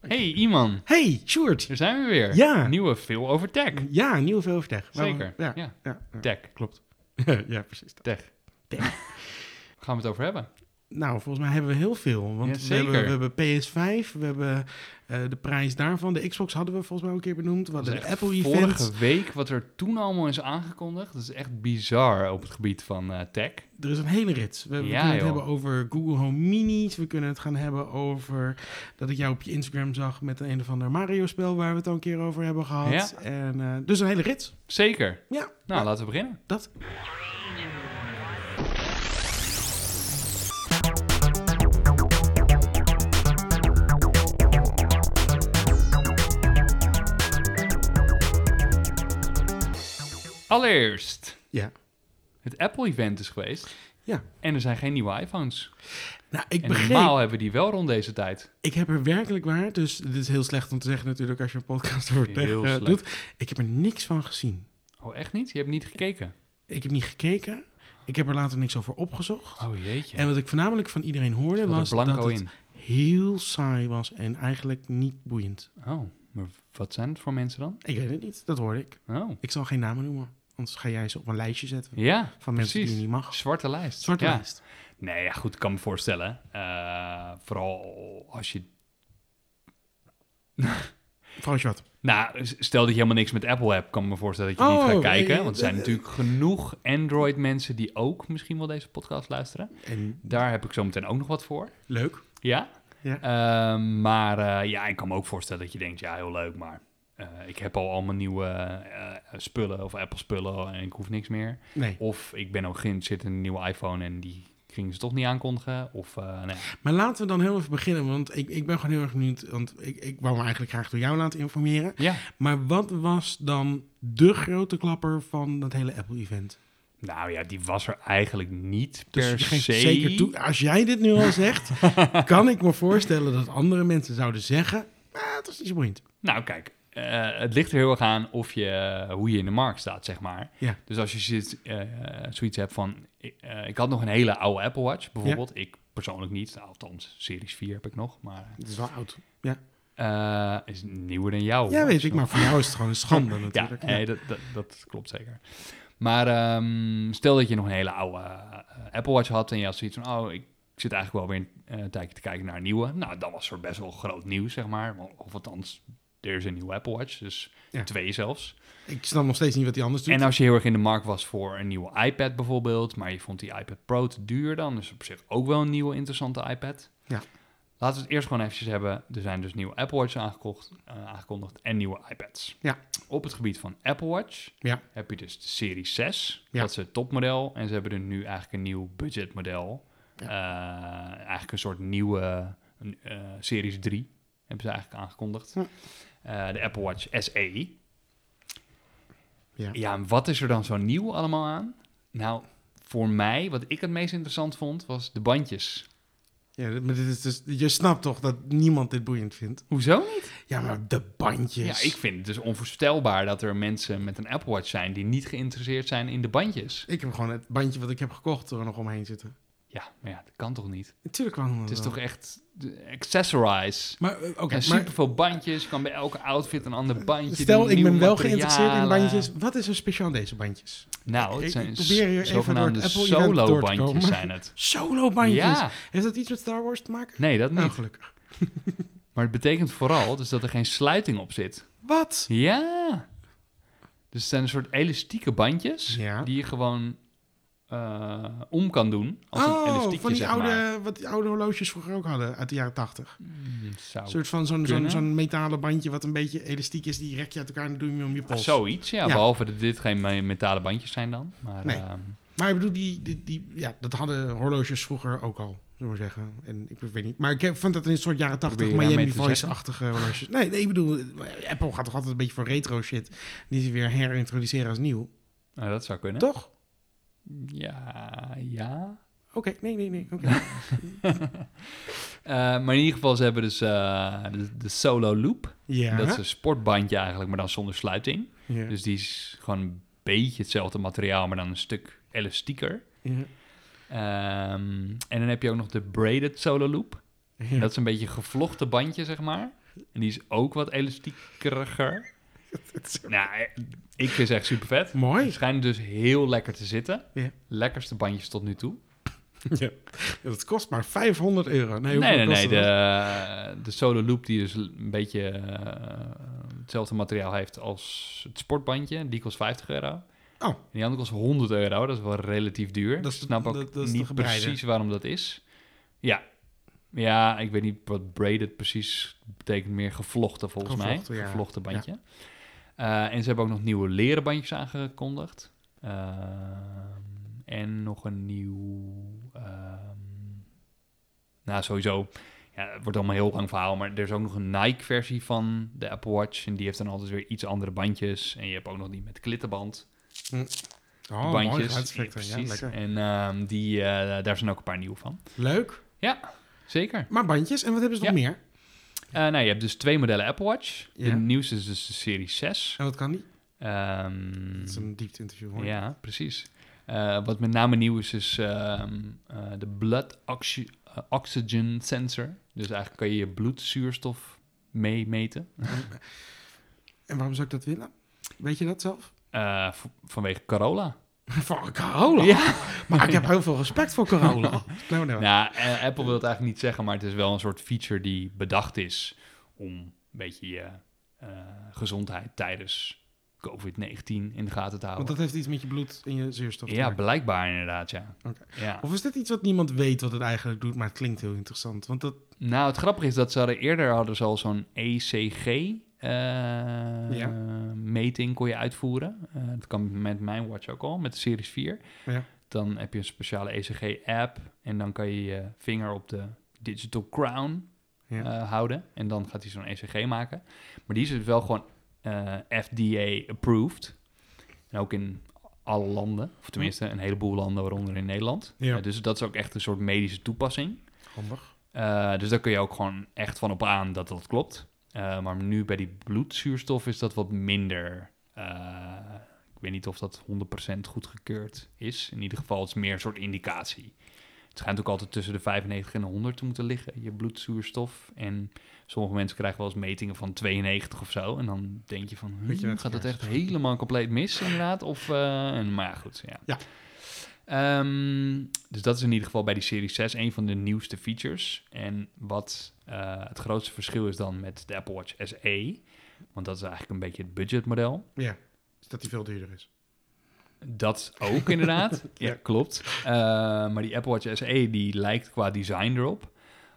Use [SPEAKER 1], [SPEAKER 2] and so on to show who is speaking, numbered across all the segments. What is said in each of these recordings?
[SPEAKER 1] Hey, Iman.
[SPEAKER 2] Hey, Sjoerd.
[SPEAKER 1] Daar zijn we weer.
[SPEAKER 2] Ja.
[SPEAKER 1] Nieuwe veel over tech.
[SPEAKER 2] Ja, nieuwe veel over tech. Waarom-
[SPEAKER 1] Zeker.
[SPEAKER 2] Ja,
[SPEAKER 1] Ja.
[SPEAKER 2] ja, ja.
[SPEAKER 1] Tech.
[SPEAKER 2] klopt. ja, precies. dat.
[SPEAKER 1] Tech.
[SPEAKER 2] Tech.
[SPEAKER 1] Gaan we het over hebben?
[SPEAKER 2] Nou, volgens mij hebben we heel veel. Want
[SPEAKER 1] Ja,
[SPEAKER 2] we, hebben,
[SPEAKER 1] zeker.
[SPEAKER 2] we hebben PS5, we hebben eh, de prijs daarvan. De Xbox hadden we volgens mij ook een keer benoemd. We hadden
[SPEAKER 1] Dat
[SPEAKER 2] de
[SPEAKER 1] is echt
[SPEAKER 2] Apple
[SPEAKER 1] Vorige
[SPEAKER 2] Event.
[SPEAKER 1] week, wat er toen allemaal is aangekondigd, dat is echt bizar op het gebied van eh, tech.
[SPEAKER 2] Er is een hele rit. We, we
[SPEAKER 1] Ja,
[SPEAKER 2] kunnen het
[SPEAKER 1] joh.
[SPEAKER 2] hebben over Google Home Minis. We kunnen het gaan hebben over dat ik jou op je Instagram zag met een, een of ander Mario-spel waar we het al een keer over hebben gehad.
[SPEAKER 1] Ja.
[SPEAKER 2] En, eh, dus een hele rit.
[SPEAKER 1] Zeker.
[SPEAKER 2] Ja.
[SPEAKER 1] Nou,
[SPEAKER 2] Ja.
[SPEAKER 1] laten we beginnen.
[SPEAKER 2] Dat.
[SPEAKER 1] Allereerst.
[SPEAKER 2] Ja.
[SPEAKER 1] Het Apple-event is geweest.
[SPEAKER 2] Ja.
[SPEAKER 1] En er zijn geen nieuwe iPhones.
[SPEAKER 2] Nou, ik
[SPEAKER 1] en
[SPEAKER 2] begreep
[SPEAKER 1] normaal hebben we die wel rond deze tijd.
[SPEAKER 2] Ik heb er werkelijk waar, dus dit is heel slecht om te zeggen natuurlijk als je een podcast over tech
[SPEAKER 1] Heel
[SPEAKER 2] eh,
[SPEAKER 1] slecht.
[SPEAKER 2] doet. Ik heb er niks van gezien.
[SPEAKER 1] Oh, echt niet? Je hebt niet gekeken?
[SPEAKER 2] Ik heb niet gekeken. Ik heb er later niks over opgezocht.
[SPEAKER 1] Oh, jeetje.
[SPEAKER 2] En wat ik voornamelijk van iedereen hoorde
[SPEAKER 1] Zat er
[SPEAKER 2] was dat
[SPEAKER 1] blanco
[SPEAKER 2] het
[SPEAKER 1] in.
[SPEAKER 2] heel saai was en eigenlijk niet boeiend.
[SPEAKER 1] Oh, maar wat zijn het voor mensen dan?
[SPEAKER 2] Ik weet het niet, dat hoorde ik.
[SPEAKER 1] Oh,
[SPEAKER 2] Ik zal geen namen noemen, anders ga jij ze op een lijstje zetten
[SPEAKER 1] ja.
[SPEAKER 2] van mensen die
[SPEAKER 1] precies.
[SPEAKER 2] je niet mag.
[SPEAKER 1] Zwarte lijst.
[SPEAKER 2] Zwarte
[SPEAKER 1] ja.
[SPEAKER 2] lijst.
[SPEAKER 1] Nee, ja, goed, ik kan me voorstellen. Eh, vooral als je...
[SPEAKER 2] Vooral als je wat.
[SPEAKER 1] Nou, s- stel dat je helemaal niks met Apple hebt, kan ik me voorstellen dat je
[SPEAKER 2] Oh,
[SPEAKER 1] niet gaat
[SPEAKER 2] eh,
[SPEAKER 1] kijken.
[SPEAKER 2] eh,
[SPEAKER 1] Want er zijn
[SPEAKER 2] eh,
[SPEAKER 1] natuurlijk genoeg Android-mensen die ook misschien wel deze podcast luisteren.
[SPEAKER 2] En
[SPEAKER 1] Daar heb ik zo meteen ook nog wat voor.
[SPEAKER 2] leuk.
[SPEAKER 1] Ja.
[SPEAKER 2] Ja.
[SPEAKER 1] Ehm, maar eh, ja, ik kan me ook voorstellen dat je denkt, ja, heel leuk, maar eh, ik heb al allemaal nieuwe eh, spullen of Apple spullen en ik hoef niks meer.
[SPEAKER 2] Nee.
[SPEAKER 1] Of ik ben ook geïnteresseerd in een nieuwe iPhone en die gingen ze toch niet aankondigen. Of eh, nee.
[SPEAKER 2] Maar laten we dan heel even beginnen, want ik, ik ben gewoon heel erg benieuwd. Want ik, ik wou me eigenlijk graag door jou laten informeren.
[SPEAKER 1] Ja.
[SPEAKER 2] Maar wat was dan de grote klapper van dat hele Apple-event?
[SPEAKER 1] Nou ja, die was er eigenlijk niet
[SPEAKER 2] Dus
[SPEAKER 1] per
[SPEAKER 2] je geeft
[SPEAKER 1] se.
[SPEAKER 2] zeker toe, als jij dit nu al zegt, kan ik me voorstellen dat andere mensen zouden zeggen: ah, het is niet zo boeiend.
[SPEAKER 1] Nou, kijk, eh, het ligt er heel erg aan of je, hoe je in de markt staat, zeg maar.
[SPEAKER 2] Ja.
[SPEAKER 1] Dus als je zit, eh, zoiets hebt van, ik, eh, ik had nog een hele oude Apple Watch, bijvoorbeeld. Ik persoonlijk niet, nou, althans, Series 4 heb ik nog, maar
[SPEAKER 2] Het is wel oud.
[SPEAKER 1] eh, is nieuwer dan jou.
[SPEAKER 2] ja, weet
[SPEAKER 1] Watch
[SPEAKER 2] ik,
[SPEAKER 1] nog.
[SPEAKER 2] maar voor jou is het gewoon een schande
[SPEAKER 1] Oh, Ja,
[SPEAKER 2] natuurlijk.
[SPEAKER 1] nee, dat, dat, dat klopt zeker. Maar ehm, stel dat je nog een hele oude eh, Apple Watch had en je had zoiets van, oh, ik zit eigenlijk wel weer een eh, tijdje te kijken naar een nieuwe. Nou, dan was er best wel groot nieuws, zeg maar. Of- Of althans, er is een nieuwe Apple Watch, dus
[SPEAKER 2] Ja.
[SPEAKER 1] twee zelfs.
[SPEAKER 2] Ik snap nog steeds niet wat hij anders doet.
[SPEAKER 1] En als je heel erg in de markt was voor een nieuwe iPad bijvoorbeeld, maar je vond die iPad Pro te duur, dan is op zich ook wel een nieuwe interessante iPad.
[SPEAKER 2] Ja.
[SPEAKER 1] Laten we het eerst gewoon eventjes hebben. Er zijn dus nieuwe Apple Watches aangekocht, eh, aangekondigd en nieuwe iPads.
[SPEAKER 2] Ja.
[SPEAKER 1] Op het gebied van Apple Watch
[SPEAKER 2] Ja.
[SPEAKER 1] heb je dus de Serie 6.
[SPEAKER 2] Ja.
[SPEAKER 1] Dat is het topmodel. En ze hebben er nu eigenlijk een nieuw budgetmodel. Eh, eigenlijk een soort nieuwe een, eh, Series 3 hebben ze eigenlijk aangekondigd.
[SPEAKER 2] Ja.
[SPEAKER 1] Eh, de Apple Watch SE.
[SPEAKER 2] Ja.
[SPEAKER 1] Ja, en wat is er dan zo nieuw allemaal aan? Nou, voor mij, wat ik het meest interessant vond, was de bandjes.
[SPEAKER 2] Ja, dit- maar dit is dus, je snapt toch dat niemand dit boeiend vindt?
[SPEAKER 1] Hoezo niet?
[SPEAKER 2] Ja, maar de bandjes.
[SPEAKER 1] Ja, ik vind het dus onvoorstelbaar dat er mensen met een Apple Watch zijn die niet geïnteresseerd zijn in de bandjes.
[SPEAKER 2] Ik heb gewoon het bandje wat ik heb gekocht er nog omheen zitten.
[SPEAKER 1] Ja, maar ja, dat kan toch niet?
[SPEAKER 2] Natuurlijk kan
[SPEAKER 1] Het is toch echt de- accessorize.
[SPEAKER 2] Maar, eh, oké,
[SPEAKER 1] en
[SPEAKER 2] maar
[SPEAKER 1] superveel bandjes, je kan bij elke outfit een ander bandje
[SPEAKER 2] Stel,
[SPEAKER 1] doen,
[SPEAKER 2] ik ben
[SPEAKER 1] nieuwe
[SPEAKER 2] wel geïnteresseerd in
[SPEAKER 1] materialen.
[SPEAKER 2] bandjes. Wat is er speciaal aan deze bandjes?
[SPEAKER 1] Nou,
[SPEAKER 2] Ik-
[SPEAKER 1] het zijn
[SPEAKER 2] ik probeer hier even
[SPEAKER 1] zogenaamde
[SPEAKER 2] door het Apple-event door te komen.
[SPEAKER 1] solo-bandjes zijn het.
[SPEAKER 2] Solo-bandjes.
[SPEAKER 1] Ja,
[SPEAKER 2] Heeft dat iets met Star Wars te maken?
[SPEAKER 1] nee, dat
[SPEAKER 2] Nou,
[SPEAKER 1] niet.
[SPEAKER 2] gelukkig.
[SPEAKER 1] Maar het betekent vooral dus dat er geen sluiting op zit.
[SPEAKER 2] Wat?
[SPEAKER 1] Ja. Dus het zijn een soort elastieke bandjes
[SPEAKER 2] Ja.
[SPEAKER 1] die je gewoon eh, om kan doen als een
[SPEAKER 2] oh,
[SPEAKER 1] elastiekje,
[SPEAKER 2] van die
[SPEAKER 1] zeg
[SPEAKER 2] oude,
[SPEAKER 1] maar.
[SPEAKER 2] wat die oude horloges vroeger ook hadden uit de jaren tachtig.
[SPEAKER 1] Mm, zou-
[SPEAKER 2] Een soort van zo'n zo'n
[SPEAKER 1] kunnen.
[SPEAKER 2] zo'n metalen bandje wat een beetje elastiek is. Die rek je uit elkaar en dan doe je hem om je pols.
[SPEAKER 1] Zoiets, ja,
[SPEAKER 2] Ja.
[SPEAKER 1] Behalve dat dit geen me- metalen bandjes zijn dan. Maar,
[SPEAKER 2] Nee.
[SPEAKER 1] ehm,
[SPEAKER 2] Maar ik bedoel, die, die, die, ja, dat hadden horloges vroeger ook al. Zullen we maar zeggen. En ik weet niet. Maar ik heb- vond dat een soort jaren
[SPEAKER 1] Probeer
[SPEAKER 2] 80
[SPEAKER 1] je daarmee
[SPEAKER 2] Miami
[SPEAKER 1] te
[SPEAKER 2] Vice-achtige horloges. Nee, nee, ik bedoel, Apple gaat toch altijd een beetje voor retro shit. Die ze weer herintroduceren als nieuw.
[SPEAKER 1] nou, dat zou kunnen.
[SPEAKER 2] Toch?
[SPEAKER 1] Ja, ja.
[SPEAKER 2] Oké, nee, nee, nee. oké.
[SPEAKER 1] Eh, maar in ieder geval, ze hebben dus eh, de, de Solo Loop.
[SPEAKER 2] Ja.
[SPEAKER 1] Dat is een sportbandje eigenlijk, maar dan zonder sluiting.
[SPEAKER 2] ja.
[SPEAKER 1] Dus die is gewoon een beetje hetzelfde materiaal, maar dan een stuk elastieker.
[SPEAKER 2] ja.
[SPEAKER 1] Ehm, en dan heb je ook nog de braided solo loop.
[SPEAKER 2] Ja.
[SPEAKER 1] Dat is een beetje een gevlochten bandje, zeg maar. En die is ook wat elastiekeriger. nou, ik vind ze echt super vet. Ze
[SPEAKER 2] Mooi.
[SPEAKER 1] schijnen dus heel lekker te zitten.
[SPEAKER 2] Ja.
[SPEAKER 1] Lekkerste bandjes tot nu toe.
[SPEAKER 2] Ja. Dat kost maar 500 euro. Nee, hoeveel
[SPEAKER 1] Nee, nee,
[SPEAKER 2] kost
[SPEAKER 1] nee.
[SPEAKER 2] dat?
[SPEAKER 1] De, de Solo Loop, die dus een beetje eh, hetzelfde materiaal heeft als het sportbandje, die kost 50 euro.
[SPEAKER 2] Oh.
[SPEAKER 1] En die andere kost 100 euro. Dat is wel relatief duur.
[SPEAKER 2] Dat
[SPEAKER 1] Dat
[SPEAKER 2] is de-
[SPEAKER 1] snap ook
[SPEAKER 2] dat- dat is de
[SPEAKER 1] niet
[SPEAKER 2] gebreide.
[SPEAKER 1] precies waarom dat is. Ja. Ja, ik weet niet wat braided precies betekent. Meer gevlochten volgens
[SPEAKER 2] Gevlochten,
[SPEAKER 1] mij.
[SPEAKER 2] ja.
[SPEAKER 1] Gevlochten bandje. Eh, en ze hebben ook nog nieuwe leren bandjes aangekondigd. Ehm, en nog een nieuw... ehm, nou, sowieso... Ja, het wordt allemaal een heel lang verhaal, maar er is ook nog een Nike-versie van de Apple Watch. En die heeft dan altijd weer iets andere bandjes. En je hebt ook nog die met glitterband
[SPEAKER 2] Oh, mooi
[SPEAKER 1] bandjes.
[SPEAKER 2] geluidseffecten.
[SPEAKER 1] Ja,
[SPEAKER 2] Ja,
[SPEAKER 1] precies.
[SPEAKER 2] lekker.
[SPEAKER 1] en ehm, die, eh, daar zijn ook een paar nieuw van.
[SPEAKER 2] Leuk.
[SPEAKER 1] Zeker.
[SPEAKER 2] Maar bandjes, en wat hebben ze nog meer?
[SPEAKER 1] Eh, nou, je hebt dus twee modellen Apple Watch.
[SPEAKER 2] Ja.
[SPEAKER 1] De nieuwste is dus de serie 6.
[SPEAKER 2] En wat kan die?
[SPEAKER 1] Ehm,
[SPEAKER 2] Dat is een diepte-interview, hoor.
[SPEAKER 1] ja, precies. Eh, wat met name nieuw is, is ehm, eh, de blood oxy- eh, oxygen sensor. Dus eigenlijk kan je je bloedzuurstof meemeten.
[SPEAKER 2] En waarom zou ik dat willen? Weet je dat zelf?
[SPEAKER 1] Eh, v- vanwege Corolla.
[SPEAKER 2] Voor Corolla?
[SPEAKER 1] Ja.
[SPEAKER 2] Maar ik heb heel veel respect voor Corolla. nou, nou.
[SPEAKER 1] Nou, eh, Apple wil het eigenlijk niet zeggen, maar het is wel een soort feature die bedacht is om een beetje je eh, gezondheid tijdens COVID-19 in de gaten te houden.
[SPEAKER 2] Want dat heeft iets met je bloed en je zuurstof te
[SPEAKER 1] ja,
[SPEAKER 2] maken.
[SPEAKER 1] blijkbaar inderdaad, ja.
[SPEAKER 2] Oké.
[SPEAKER 1] ja.
[SPEAKER 2] Of is dit iets wat niemand weet wat het eigenlijk doet, maar het klinkt heel interessant? Want dat,
[SPEAKER 1] Nou, het grappige is dat ze hadden eerder hadden ze al zo'n E ECG-meting eh, kon je uitvoeren. Eh, dat kan met mijn watch ook al, met de Series 4.
[SPEAKER 2] Ja.
[SPEAKER 1] Dan heb je een speciale E ECG-app en dan kan je je vinger op de digital crown
[SPEAKER 2] Ja.
[SPEAKER 1] eh, houden. En dan gaat hij zo'n ECG maken. Maar die is dus wel gewoon FDA-approved. En ook in alle landen, of tenminste een heleboel landen, waaronder in Nederland.
[SPEAKER 2] Ja.
[SPEAKER 1] Eh, dus dat is ook echt een soort medische toepassing.
[SPEAKER 2] handig.
[SPEAKER 1] Eh, dus daar kun je ook gewoon echt van op aan dat dat klopt. Eh, maar nu bij die bloedzuurstof is dat wat minder. Eh, ik weet niet of dat 100% goedgekeurd is. In ieder geval, het is meer een soort indicatie. Het schijnt ook altijd tussen de 95 en de 100 te moeten liggen, je bloedzuurstof. En sommige mensen krijgen wel eens metingen van 92 of zo. En dan denk je van,
[SPEAKER 2] Weet je
[SPEAKER 1] hmm,
[SPEAKER 2] wat,
[SPEAKER 1] gaat dat
[SPEAKER 2] ja.
[SPEAKER 1] echt helemaal compleet mis inderdaad? Of, eh, en, maar ja, goed, ja.
[SPEAKER 2] Ja.
[SPEAKER 1] Ehm, dus dat is in ieder geval bij die Serie 6 een van de nieuwste features. En wat eh, het grootste verschil is dan met de Apple Watch SE, want dat is eigenlijk een beetje het budgetmodel.
[SPEAKER 2] Ja, is dat die veel duurder is.
[SPEAKER 1] Dat ook inderdaad. ja,
[SPEAKER 2] Ja.
[SPEAKER 1] klopt. Eh, maar die Apple Watch SE die lijkt qua design erop.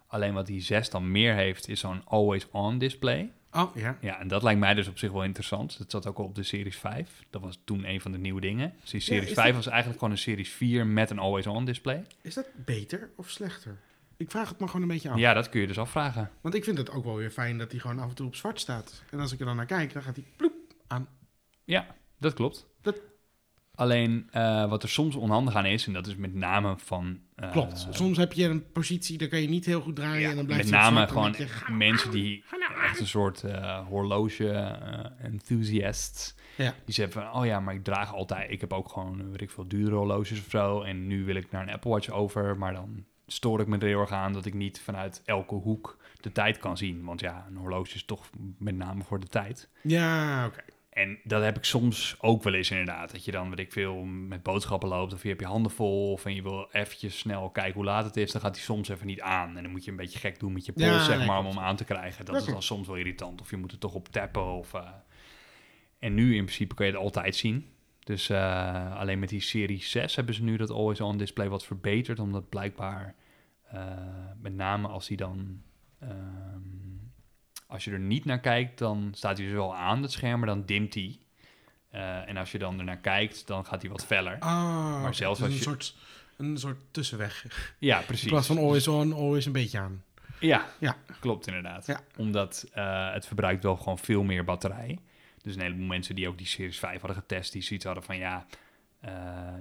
[SPEAKER 1] Alleen wat die 6 dan meer heeft, is zo'n always-on display.
[SPEAKER 2] Oh, ja.
[SPEAKER 1] Ja, en dat lijkt mij dus op zich wel interessant. Dat zat ook al op de Series 5. Dat was toen een van de nieuwe dingen. Dus die Series
[SPEAKER 2] is
[SPEAKER 1] 5
[SPEAKER 2] dat-
[SPEAKER 1] was eigenlijk gewoon een Series 4 met een always-on display.
[SPEAKER 2] Is dat beter of slechter? Ik vraag het maar gewoon een beetje af.
[SPEAKER 1] Ja, dat kun je dus afvragen.
[SPEAKER 2] Want ik vind het ook wel weer fijn dat hij gewoon af en toe op zwart staat. En als ik er dan naar kijk, dan gaat hij ploep.
[SPEAKER 1] Dat klopt.
[SPEAKER 2] Dat-
[SPEAKER 1] Alleen eh, wat er soms onhandig aan is, en dat is met name van... eh,
[SPEAKER 2] Klopt. Soms heb je een positie, daar kan je niet heel goed draaien.
[SPEAKER 1] Ja,
[SPEAKER 2] en dan blijft
[SPEAKER 1] met
[SPEAKER 2] hij op
[SPEAKER 1] name
[SPEAKER 2] zwart en
[SPEAKER 1] gewoon
[SPEAKER 2] dan denk je,
[SPEAKER 1] mensen die echt een soort eh, horloge eh, enthusiasts.
[SPEAKER 2] Ja.
[SPEAKER 1] Die zeggen van, oh ja, maar ik draag altijd... Ik heb ook gewoon, eh, weet ik veel, dure horloges of zo. En nu wil ik naar een Apple Watch over. Maar dan stoor ik me er heel erg aan dat ik niet vanuit elke hoek de tijd kan zien. Want ja, een horloge is toch met name voor de tijd.
[SPEAKER 2] Ja, oké.
[SPEAKER 1] En dat heb ik soms ook wel eens inderdaad. Dat je dan, weet ik veel, met boodschappen loopt of je hebt je handen vol... of en je wil eventjes snel kijken hoe laat het is, dan gaat die soms even niet aan. En dan moet je een beetje gek doen met je pols,
[SPEAKER 2] Ja,
[SPEAKER 1] zeg
[SPEAKER 2] nee,
[SPEAKER 1] maar, om
[SPEAKER 2] klopt.
[SPEAKER 1] hem aan te krijgen. Dat
[SPEAKER 2] Ja,
[SPEAKER 1] is dan
[SPEAKER 2] klopt.
[SPEAKER 1] soms wel irritant. Of je moet er toch op tappen of... eh. En nu in principe kun je het altijd zien. Dus eh, alleen met die Serie 6 hebben ze nu dat always-on display wat verbeterd... omdat blijkbaar, eh, met name als die dan... ehm, als je er niet naar kijkt, dan staat hij dus wel aan het scherm, maar dan dimt hij. Eh, en als je dan ernaar kijkt, dan gaat hij wat feller.
[SPEAKER 2] Ah,
[SPEAKER 1] Maar zelfs
[SPEAKER 2] dus
[SPEAKER 1] als
[SPEAKER 2] een
[SPEAKER 1] je-
[SPEAKER 2] soort een soort tussenweg.
[SPEAKER 1] Ja,
[SPEAKER 2] In
[SPEAKER 1] precies. Dus-
[SPEAKER 2] plaats van always on, always een beetje aan.
[SPEAKER 1] Ja,
[SPEAKER 2] Ja.
[SPEAKER 1] klopt inderdaad.
[SPEAKER 2] Ja.
[SPEAKER 1] Omdat eh, het verbruikt wel gewoon veel meer batterij. Dus een heleboel mensen die ook die Series 5 hadden getest, die zoiets hadden van ja, eh,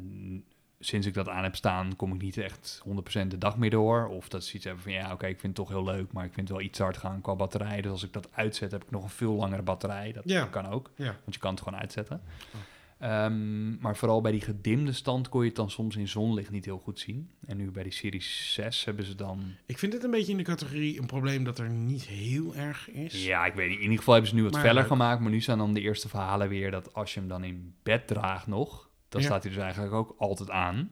[SPEAKER 1] n- sinds ik dat aan heb staan, kom ik niet echt 100% de dag meer door. Of dat ze iets hebben van ja, oké, ik vind het toch heel leuk, maar ik vind het wel iets te hard gaan qua batterij. Dus als ik dat uitzet, heb ik nog een veel langere batterij. Dat
[SPEAKER 2] Ja.
[SPEAKER 1] kan ook.
[SPEAKER 2] Ja.
[SPEAKER 1] Want je kan het gewoon uitzetten.
[SPEAKER 2] Oh.
[SPEAKER 1] Eh, Ehm, maar vooral bij die gedimde stand kon je het dan soms in zonlicht niet heel goed zien. En nu bij die Series 6 hebben ze dan...
[SPEAKER 2] Ik vind dit een beetje in de categorie een probleem dat er niet heel erg is.
[SPEAKER 1] Ja, ik weet niet. In ieder geval hebben ze nu wat
[SPEAKER 2] Maar
[SPEAKER 1] feller
[SPEAKER 2] leuk.
[SPEAKER 1] gemaakt. Maar nu staan dan de eerste verhalen weer dat als je hem dan in bed draagt nog... dan
[SPEAKER 2] Ja.
[SPEAKER 1] staat hij dus eigenlijk ook altijd aan.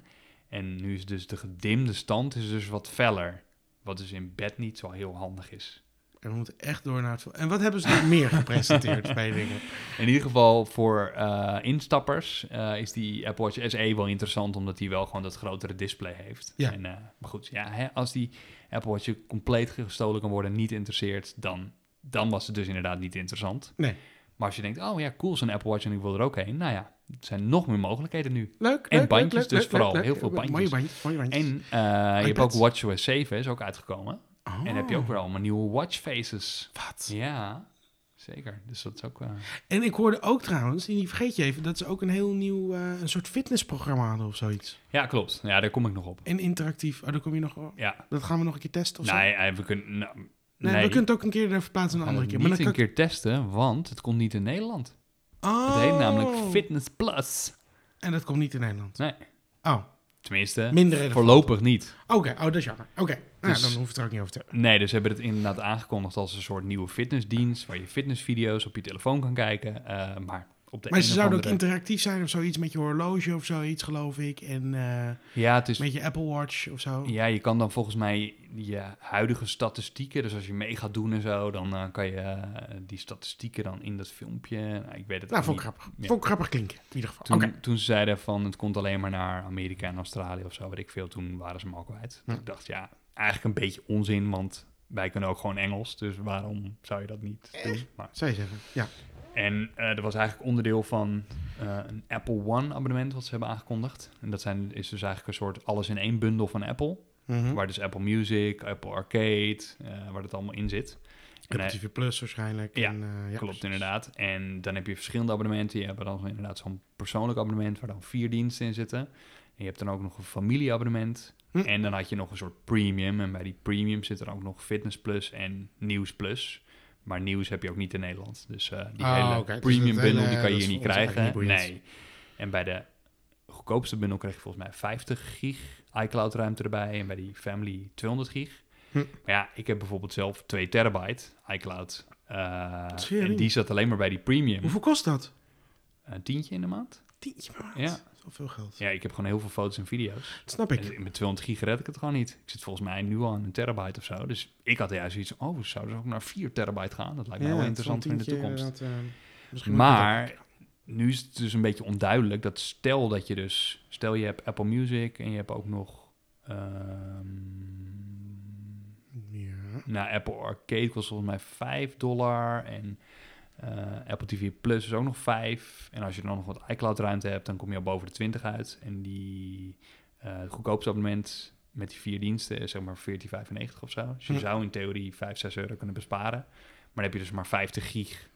[SPEAKER 1] En nu is dus de gedimde stand is dus wat feller. Wat dus in bed niet zo heel handig is.
[SPEAKER 2] En we moeten echt door naar het... vol- En wat hebben ze nog meer gepresenteerd bij dingen?
[SPEAKER 1] In ieder geval voor eh, instappers eh, is die Apple Watch SE wel interessant, omdat die wel gewoon dat grotere display heeft.
[SPEAKER 2] Ja.
[SPEAKER 1] En, eh, maar goed, ja, hè, als die Apple Watch je compleet gestolen kan worden, niet interesseert, dan, dan was het dus inderdaad niet interessant.
[SPEAKER 2] Nee.
[SPEAKER 1] Maar als je denkt, oh ja, cool, zo'n Apple Watch en ik wil er ook heen. Nou ja, er zijn nog meer mogelijkheden nu.
[SPEAKER 2] Leuk,
[SPEAKER 1] En
[SPEAKER 2] leuk,
[SPEAKER 1] bandjes
[SPEAKER 2] leuk,
[SPEAKER 1] dus
[SPEAKER 2] leuk,
[SPEAKER 1] vooral.
[SPEAKER 2] leuk,
[SPEAKER 1] Heel
[SPEAKER 2] leuk.
[SPEAKER 1] veel bandjes.
[SPEAKER 2] Mooie bandjes, mooie bandjes.
[SPEAKER 1] En eh, je hebt ook
[SPEAKER 2] iPads.
[SPEAKER 1] WatchOS 7, is ook uitgekomen.
[SPEAKER 2] Oh,
[SPEAKER 1] En heb je ook weer allemaal nieuwe watchfaces.
[SPEAKER 2] Wat?
[SPEAKER 1] Ja, zeker. Dus dat is ook... eh,
[SPEAKER 2] En ik hoorde ook trouwens, en die vergeet je even, dat ze ook een heel nieuw eh, een soort fitnessprogramma hadden of zoiets.
[SPEAKER 1] Ja, klopt. Ja, daar kom ik nog op.
[SPEAKER 2] En interactief. Oh, daar kom je nog wel.
[SPEAKER 1] Ja,
[SPEAKER 2] Dat gaan we nog een keer testen of zo.
[SPEAKER 1] Nee, eh, we kunnen. nou, nee,
[SPEAKER 2] Nee, we kunnen het ook een keer er verplaatsen
[SPEAKER 1] we
[SPEAKER 2] een
[SPEAKER 1] gaan
[SPEAKER 2] andere
[SPEAKER 1] het
[SPEAKER 2] keer.
[SPEAKER 1] Niet
[SPEAKER 2] Maar dan
[SPEAKER 1] een
[SPEAKER 2] kan
[SPEAKER 1] keer testen, want het komt niet in Nederland.
[SPEAKER 2] Oh.
[SPEAKER 1] Het heet namelijk Fitness Plus.
[SPEAKER 2] En dat komt niet in Nederland.
[SPEAKER 1] Nee,
[SPEAKER 2] Oh,
[SPEAKER 1] tenminste,
[SPEAKER 2] minder relevant.
[SPEAKER 1] voorlopig niet.
[SPEAKER 2] Oké, oh, dat is jammer. Oké, nou,
[SPEAKER 1] Dus-
[SPEAKER 2] dan hoef ik het er ook niet over te hebben.
[SPEAKER 1] Nee, dus ze hebben het inderdaad aangekondigd als een soort nieuwe fitnessdienst waar je fitnessvideo's op je telefoon kan kijken. eh, maar op de
[SPEAKER 2] Maar
[SPEAKER 1] een
[SPEAKER 2] ze
[SPEAKER 1] of
[SPEAKER 2] zouden ook
[SPEAKER 1] andere-
[SPEAKER 2] interactief zijn of zoiets met je horloge of zoiets, geloof ik. En eh,
[SPEAKER 1] Ja, het is
[SPEAKER 2] met je Apple Watch of zo.
[SPEAKER 1] Ja, je kan dan volgens mij je huidige statistieken, dus als je mee gaat doen en zo, dan eh, kan je eh, die statistieken dan in dat filmpje. Nou, ik weet het
[SPEAKER 2] nou,
[SPEAKER 1] ook
[SPEAKER 2] vond
[SPEAKER 1] niet.
[SPEAKER 2] ik grappig.
[SPEAKER 1] Ja.
[SPEAKER 2] Vond ik grappig klinken, in ieder geval.
[SPEAKER 1] Toen,
[SPEAKER 2] Oké.
[SPEAKER 1] toen ze zeiden van het komt alleen maar naar Amerika en Australië of zo, weet ik veel, toen waren ze hem al kwijt. Dus
[SPEAKER 2] Ja.
[SPEAKER 1] ik dacht, ja, eigenlijk een beetje onzin, want wij kunnen ook gewoon Engels, dus waarom zou je dat niet doen? Maar,
[SPEAKER 2] Zou je zeggen, ja.
[SPEAKER 1] en eh dat was eigenlijk onderdeel van eh, een Apple One abonnement wat ze hebben aangekondigd. En dat zijn, is dus eigenlijk een soort alles in één bundel van Apple,
[SPEAKER 2] Mhm.
[SPEAKER 1] waar dus Apple Music, Apple Arcade, eh, waar dat allemaal in zit. En,
[SPEAKER 2] Apple
[SPEAKER 1] eh,
[SPEAKER 2] TV Plus waarschijnlijk.
[SPEAKER 1] Ja,
[SPEAKER 2] en, eh, ja.
[SPEAKER 1] Klopt, inderdaad. En dan heb je verschillende abonnementen. Je hebt dan zo- inderdaad zo'n persoonlijk abonnement waar dan vier diensten in zitten. En je hebt dan ook nog een familieabonnement.
[SPEAKER 2] Hm.
[SPEAKER 1] En dan had je nog een soort premium. En bij die premium zit er ook nog Fitness Plus en Nieuws Plus. Maar nieuws heb je ook niet in Nederland. Dus eh, die
[SPEAKER 2] Ah,
[SPEAKER 1] hele
[SPEAKER 2] oké, dus
[SPEAKER 1] premium
[SPEAKER 2] het hele-
[SPEAKER 1] bundle die kan je
[SPEAKER 2] dat is
[SPEAKER 1] hier niet
[SPEAKER 2] voor ons
[SPEAKER 1] krijgen.
[SPEAKER 2] eigenlijk niet
[SPEAKER 1] nee. En bij de goedkoopste bundle kreeg je volgens mij 50 gig iCloud ruimte erbij. En bij die family 200 gig.
[SPEAKER 2] Hm.
[SPEAKER 1] Maar ja, ik heb bijvoorbeeld zelf 2 terabyte iCloud. eh,
[SPEAKER 2] Tering.
[SPEAKER 1] en die zat alleen maar bij die premium.
[SPEAKER 2] Hoeveel kost dat?
[SPEAKER 1] Een tientje in de maand.
[SPEAKER 2] Tientje per maand.
[SPEAKER 1] Ja.
[SPEAKER 2] Dat is wel veel geld.
[SPEAKER 1] Ja, ik heb gewoon heel veel foto's en video's.
[SPEAKER 2] Dat snap ik.
[SPEAKER 1] En met 200 gig red ik het gewoon niet. Ik zit volgens mij nu al aan een terabyte of zo. Dus ik had juist iets van, oh, zouden ze ook naar 4 terabyte gaan? Dat lijkt me
[SPEAKER 2] Ja,
[SPEAKER 1] wel
[SPEAKER 2] het is wel
[SPEAKER 1] interessant
[SPEAKER 2] een
[SPEAKER 1] voor in de
[SPEAKER 2] tientje
[SPEAKER 1] toekomst.
[SPEAKER 2] inderdaad, eh, misschien moet ik
[SPEAKER 1] Maar nu is het dus een beetje onduidelijk dat stel dat je dus... Stel je hebt Apple Music en je hebt ook nog... ehm,
[SPEAKER 2] dat- Ja.
[SPEAKER 1] Nou, Apple Arcade kost volgens mij 5 dollar. En eh, Apple TV Plus is ook nog 5. En als je dan nog wat iCloud ruimte hebt, dan kom je al boven de 20 uit. En die eh, het goedkoopste abonnement met die vier diensten is zeg maar 14,95 of zo. Dus je
[SPEAKER 2] Ja.
[SPEAKER 1] zou in theorie 5, 6 euro kunnen besparen. Maar dan heb je dus maar 50 gig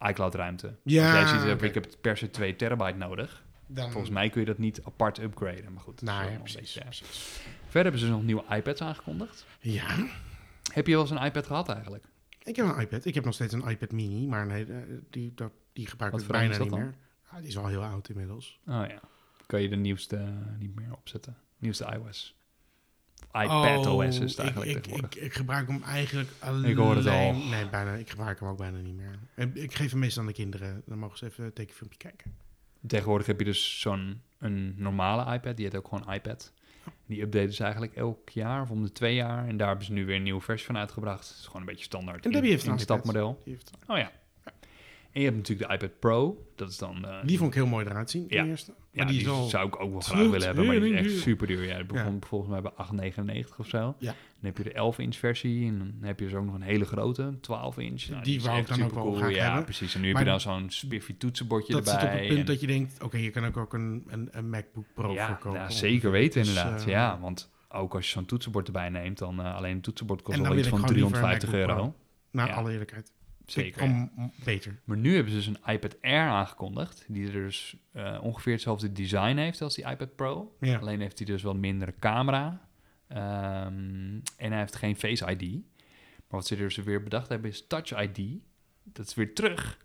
[SPEAKER 1] iCloud ruimte.
[SPEAKER 2] Ja,
[SPEAKER 1] dus jij ziet, eh,
[SPEAKER 2] oké.
[SPEAKER 1] ik heb per se 2 terabyte nodig.
[SPEAKER 2] Dan,
[SPEAKER 1] Volgens mij kun je dat niet apart upgraden. Maar goed, dat is
[SPEAKER 2] Nou
[SPEAKER 1] wel
[SPEAKER 2] ja,
[SPEAKER 1] een
[SPEAKER 2] precies.
[SPEAKER 1] beetje- Verder hebben ze dus nog nieuwe iPads aangekondigd.
[SPEAKER 2] Ja,
[SPEAKER 1] Heb je wel eens een iPad gehad eigenlijk?
[SPEAKER 2] ik heb een iPad. Ik heb nog steeds een iPad mini, maar nee, eh, die, dat, die gebruik
[SPEAKER 1] Wat
[SPEAKER 2] ik
[SPEAKER 1] voor oud
[SPEAKER 2] bijna
[SPEAKER 1] is dat
[SPEAKER 2] niet
[SPEAKER 1] dan?
[SPEAKER 2] meer. Ja, die is wel heel oud inmiddels.
[SPEAKER 1] Oh ja. Kan je de nieuwste eh, niet meer opzetten. Nieuwste iOS. iPad OS is het
[SPEAKER 2] Oh,
[SPEAKER 1] eigenlijk
[SPEAKER 2] ik, ik,
[SPEAKER 1] tegenwoordig.
[SPEAKER 2] ik, ik gebruik hem eigenlijk alleen...
[SPEAKER 1] Ik hoor het al.
[SPEAKER 2] Nee, bijna, ik gebruik hem ook bijna niet meer. Ik, ik geef hem meestal aan de kinderen. Dan mogen ze even een tekenfilmpje kijken.
[SPEAKER 1] Tegenwoordig heb je dus zo'n een normale iPad. Die heet ook gewoon iPad. Die updaten ze eigenlijk elk jaar of om de twee jaar. En daar hebben ze nu weer een nieuwe versie van uitgebracht. Het is gewoon een beetje standaard.
[SPEAKER 2] En Oh, Debbie
[SPEAKER 1] in-
[SPEAKER 2] heeft
[SPEAKER 1] in
[SPEAKER 2] een
[SPEAKER 1] het
[SPEAKER 2] iPad.
[SPEAKER 1] stapmodel.
[SPEAKER 2] Die, heeft,
[SPEAKER 1] Oh ja. En je hebt natuurlijk de iPad Pro. Dat is dan... eh,
[SPEAKER 2] die vond ik heel mooi eruit zien,
[SPEAKER 1] Ja.
[SPEAKER 2] de eerste. Maar
[SPEAKER 1] ja,
[SPEAKER 2] die, is wel...
[SPEAKER 1] zou ik ook wel graag willen hebben, maar die is echt
[SPEAKER 2] Tering duur.
[SPEAKER 1] super duur. Ja, dat begon volgens mij bij 8,99 of zo.
[SPEAKER 2] Ja.
[SPEAKER 1] Dan heb je de 11 inch versie en dan heb je dus ook nog een hele grote, een 12 inch. Nou,
[SPEAKER 2] Die
[SPEAKER 1] is
[SPEAKER 2] wou ik
[SPEAKER 1] echt
[SPEAKER 2] dan ook wel
[SPEAKER 1] supercool.
[SPEAKER 2] graag
[SPEAKER 1] ja,
[SPEAKER 2] hebben.
[SPEAKER 1] precies. En nu
[SPEAKER 2] Maar
[SPEAKER 1] heb je dan zo'n spiffy toetsenbordje
[SPEAKER 2] Dat
[SPEAKER 1] erbij.
[SPEAKER 2] zit op het punt
[SPEAKER 1] en-
[SPEAKER 2] dat je denkt, oké, je kan ook, ook een, een, een MacBook Pro
[SPEAKER 1] ja,
[SPEAKER 2] voor kopen.
[SPEAKER 1] ja, zeker weten
[SPEAKER 2] Dus,
[SPEAKER 1] inderdaad.
[SPEAKER 2] eh,
[SPEAKER 1] ja, want ook als je zo'n toetsenbord erbij neemt, dan eh, alleen een toetsenbord kost
[SPEAKER 2] En
[SPEAKER 1] al
[SPEAKER 2] dan
[SPEAKER 1] iets
[SPEAKER 2] wil
[SPEAKER 1] van
[SPEAKER 2] ik gewoon liever een
[SPEAKER 1] 350 euro.
[SPEAKER 2] MacBook Nou,
[SPEAKER 1] Ja.
[SPEAKER 2] alle eerlijkheid.
[SPEAKER 1] Zeker. ja.
[SPEAKER 2] Om, beter.
[SPEAKER 1] Maar nu hebben ze dus een iPad Air aangekondigd, die er dus eh, ongeveer hetzelfde design heeft als die iPad Pro.
[SPEAKER 2] Ja.
[SPEAKER 1] Alleen heeft hij dus wel mindere camera. Ehm, en hij heeft geen Face ID. Maar wat ze er dus weer bedacht hebben is Touch ID. Dat is weer terug.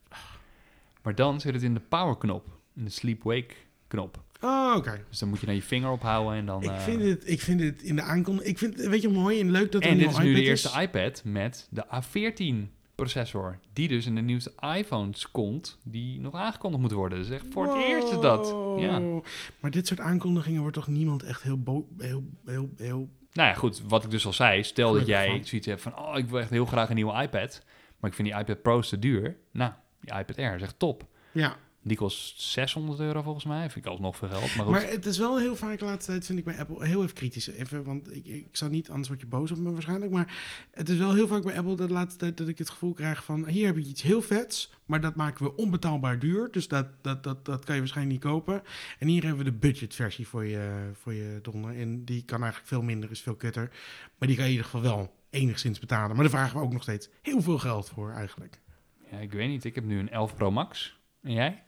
[SPEAKER 1] Maar dan zit het in de powerknop. de sleep-wake knop.
[SPEAKER 2] Oh, oké.
[SPEAKER 1] Dus dan moet je dan je vinger ophouden en dan...
[SPEAKER 2] Ik,
[SPEAKER 1] eh,
[SPEAKER 2] vind het- ik vind het in de aankondiging... Ik vind, weet je mooi en leuk dat er
[SPEAKER 1] en
[SPEAKER 2] een
[SPEAKER 1] dit
[SPEAKER 2] nieuwe
[SPEAKER 1] is nu de
[SPEAKER 2] iPad
[SPEAKER 1] eerste iPad met de A14 processor. Die dus in de nieuwste iPhones komt, die nog aangekondigd moet worden. Dus echt voor het eerst is dat. Ja.
[SPEAKER 2] Wow. Maar dit soort aankondigingen wordt toch niemand echt heel... Bo heel, heel, heel...
[SPEAKER 1] Nou ja, goed, wat ik dus al zei. Stel dat
[SPEAKER 2] Gelukkig
[SPEAKER 1] jij
[SPEAKER 2] van.
[SPEAKER 1] zoiets hebt van, oh, ik wil echt heel graag een nieuwe iPad. Maar ik vind die iPad Pro's te duur. Nou, die iPad Air is echt top.
[SPEAKER 2] Ja,
[SPEAKER 1] Die kost 600 euro volgens mij. Vind ik alsnog veel geld, maar goed.
[SPEAKER 2] maar het is wel heel vaak de laatste tijd, vind ik bij Apple, heel even kritisch. Even, want ik, ik zou niet, anders word je boos op me waarschijnlijk. Maar het is wel heel vaak bij Apple de laatste tijd dat ik het gevoel krijg van... hier heb je iets heel vets, maar dat maken we onbetaalbaar duur. Dus dat, dat, dat, dat kan je waarschijnlijk niet kopen. En hier hebben we de budgetversie voor je, voor je donder. En die kan eigenlijk veel minder, is veel kutter. Maar die kan je in ieder geval wel enigszins betalen. Maar daar vragen we ook nog steeds heel veel geld voor eigenlijk.
[SPEAKER 1] Ja, ik weet niet, ik heb nu een 11 Pro Max. En jij?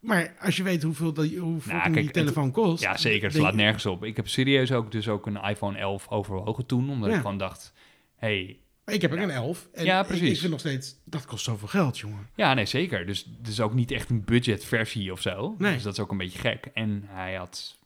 [SPEAKER 2] Maar als je weet hoeveel, dat, hoe fucking
[SPEAKER 1] kijk,
[SPEAKER 2] die
[SPEAKER 1] het-
[SPEAKER 2] telefoon kost...
[SPEAKER 1] Ja, zeker. Het
[SPEAKER 2] denk
[SPEAKER 1] slaat
[SPEAKER 2] ik-
[SPEAKER 1] nergens op. Ik heb serieus ook dus ook een iPhone 11 overwogen toen. Omdat
[SPEAKER 2] Ja.
[SPEAKER 1] ik gewoon dacht, hey,
[SPEAKER 2] Ik heb ook
[SPEAKER 1] Ja.
[SPEAKER 2] een 11. En
[SPEAKER 1] Ja,
[SPEAKER 2] ik-
[SPEAKER 1] precies.
[SPEAKER 2] Ik vind nog steeds, dat kost zoveel geld, jongen.
[SPEAKER 1] Ja, nee, zeker. Dus het is ook niet echt een budgetversie of zo.
[SPEAKER 2] Nee.
[SPEAKER 1] Dus dat is ook een beetje gek. En hij had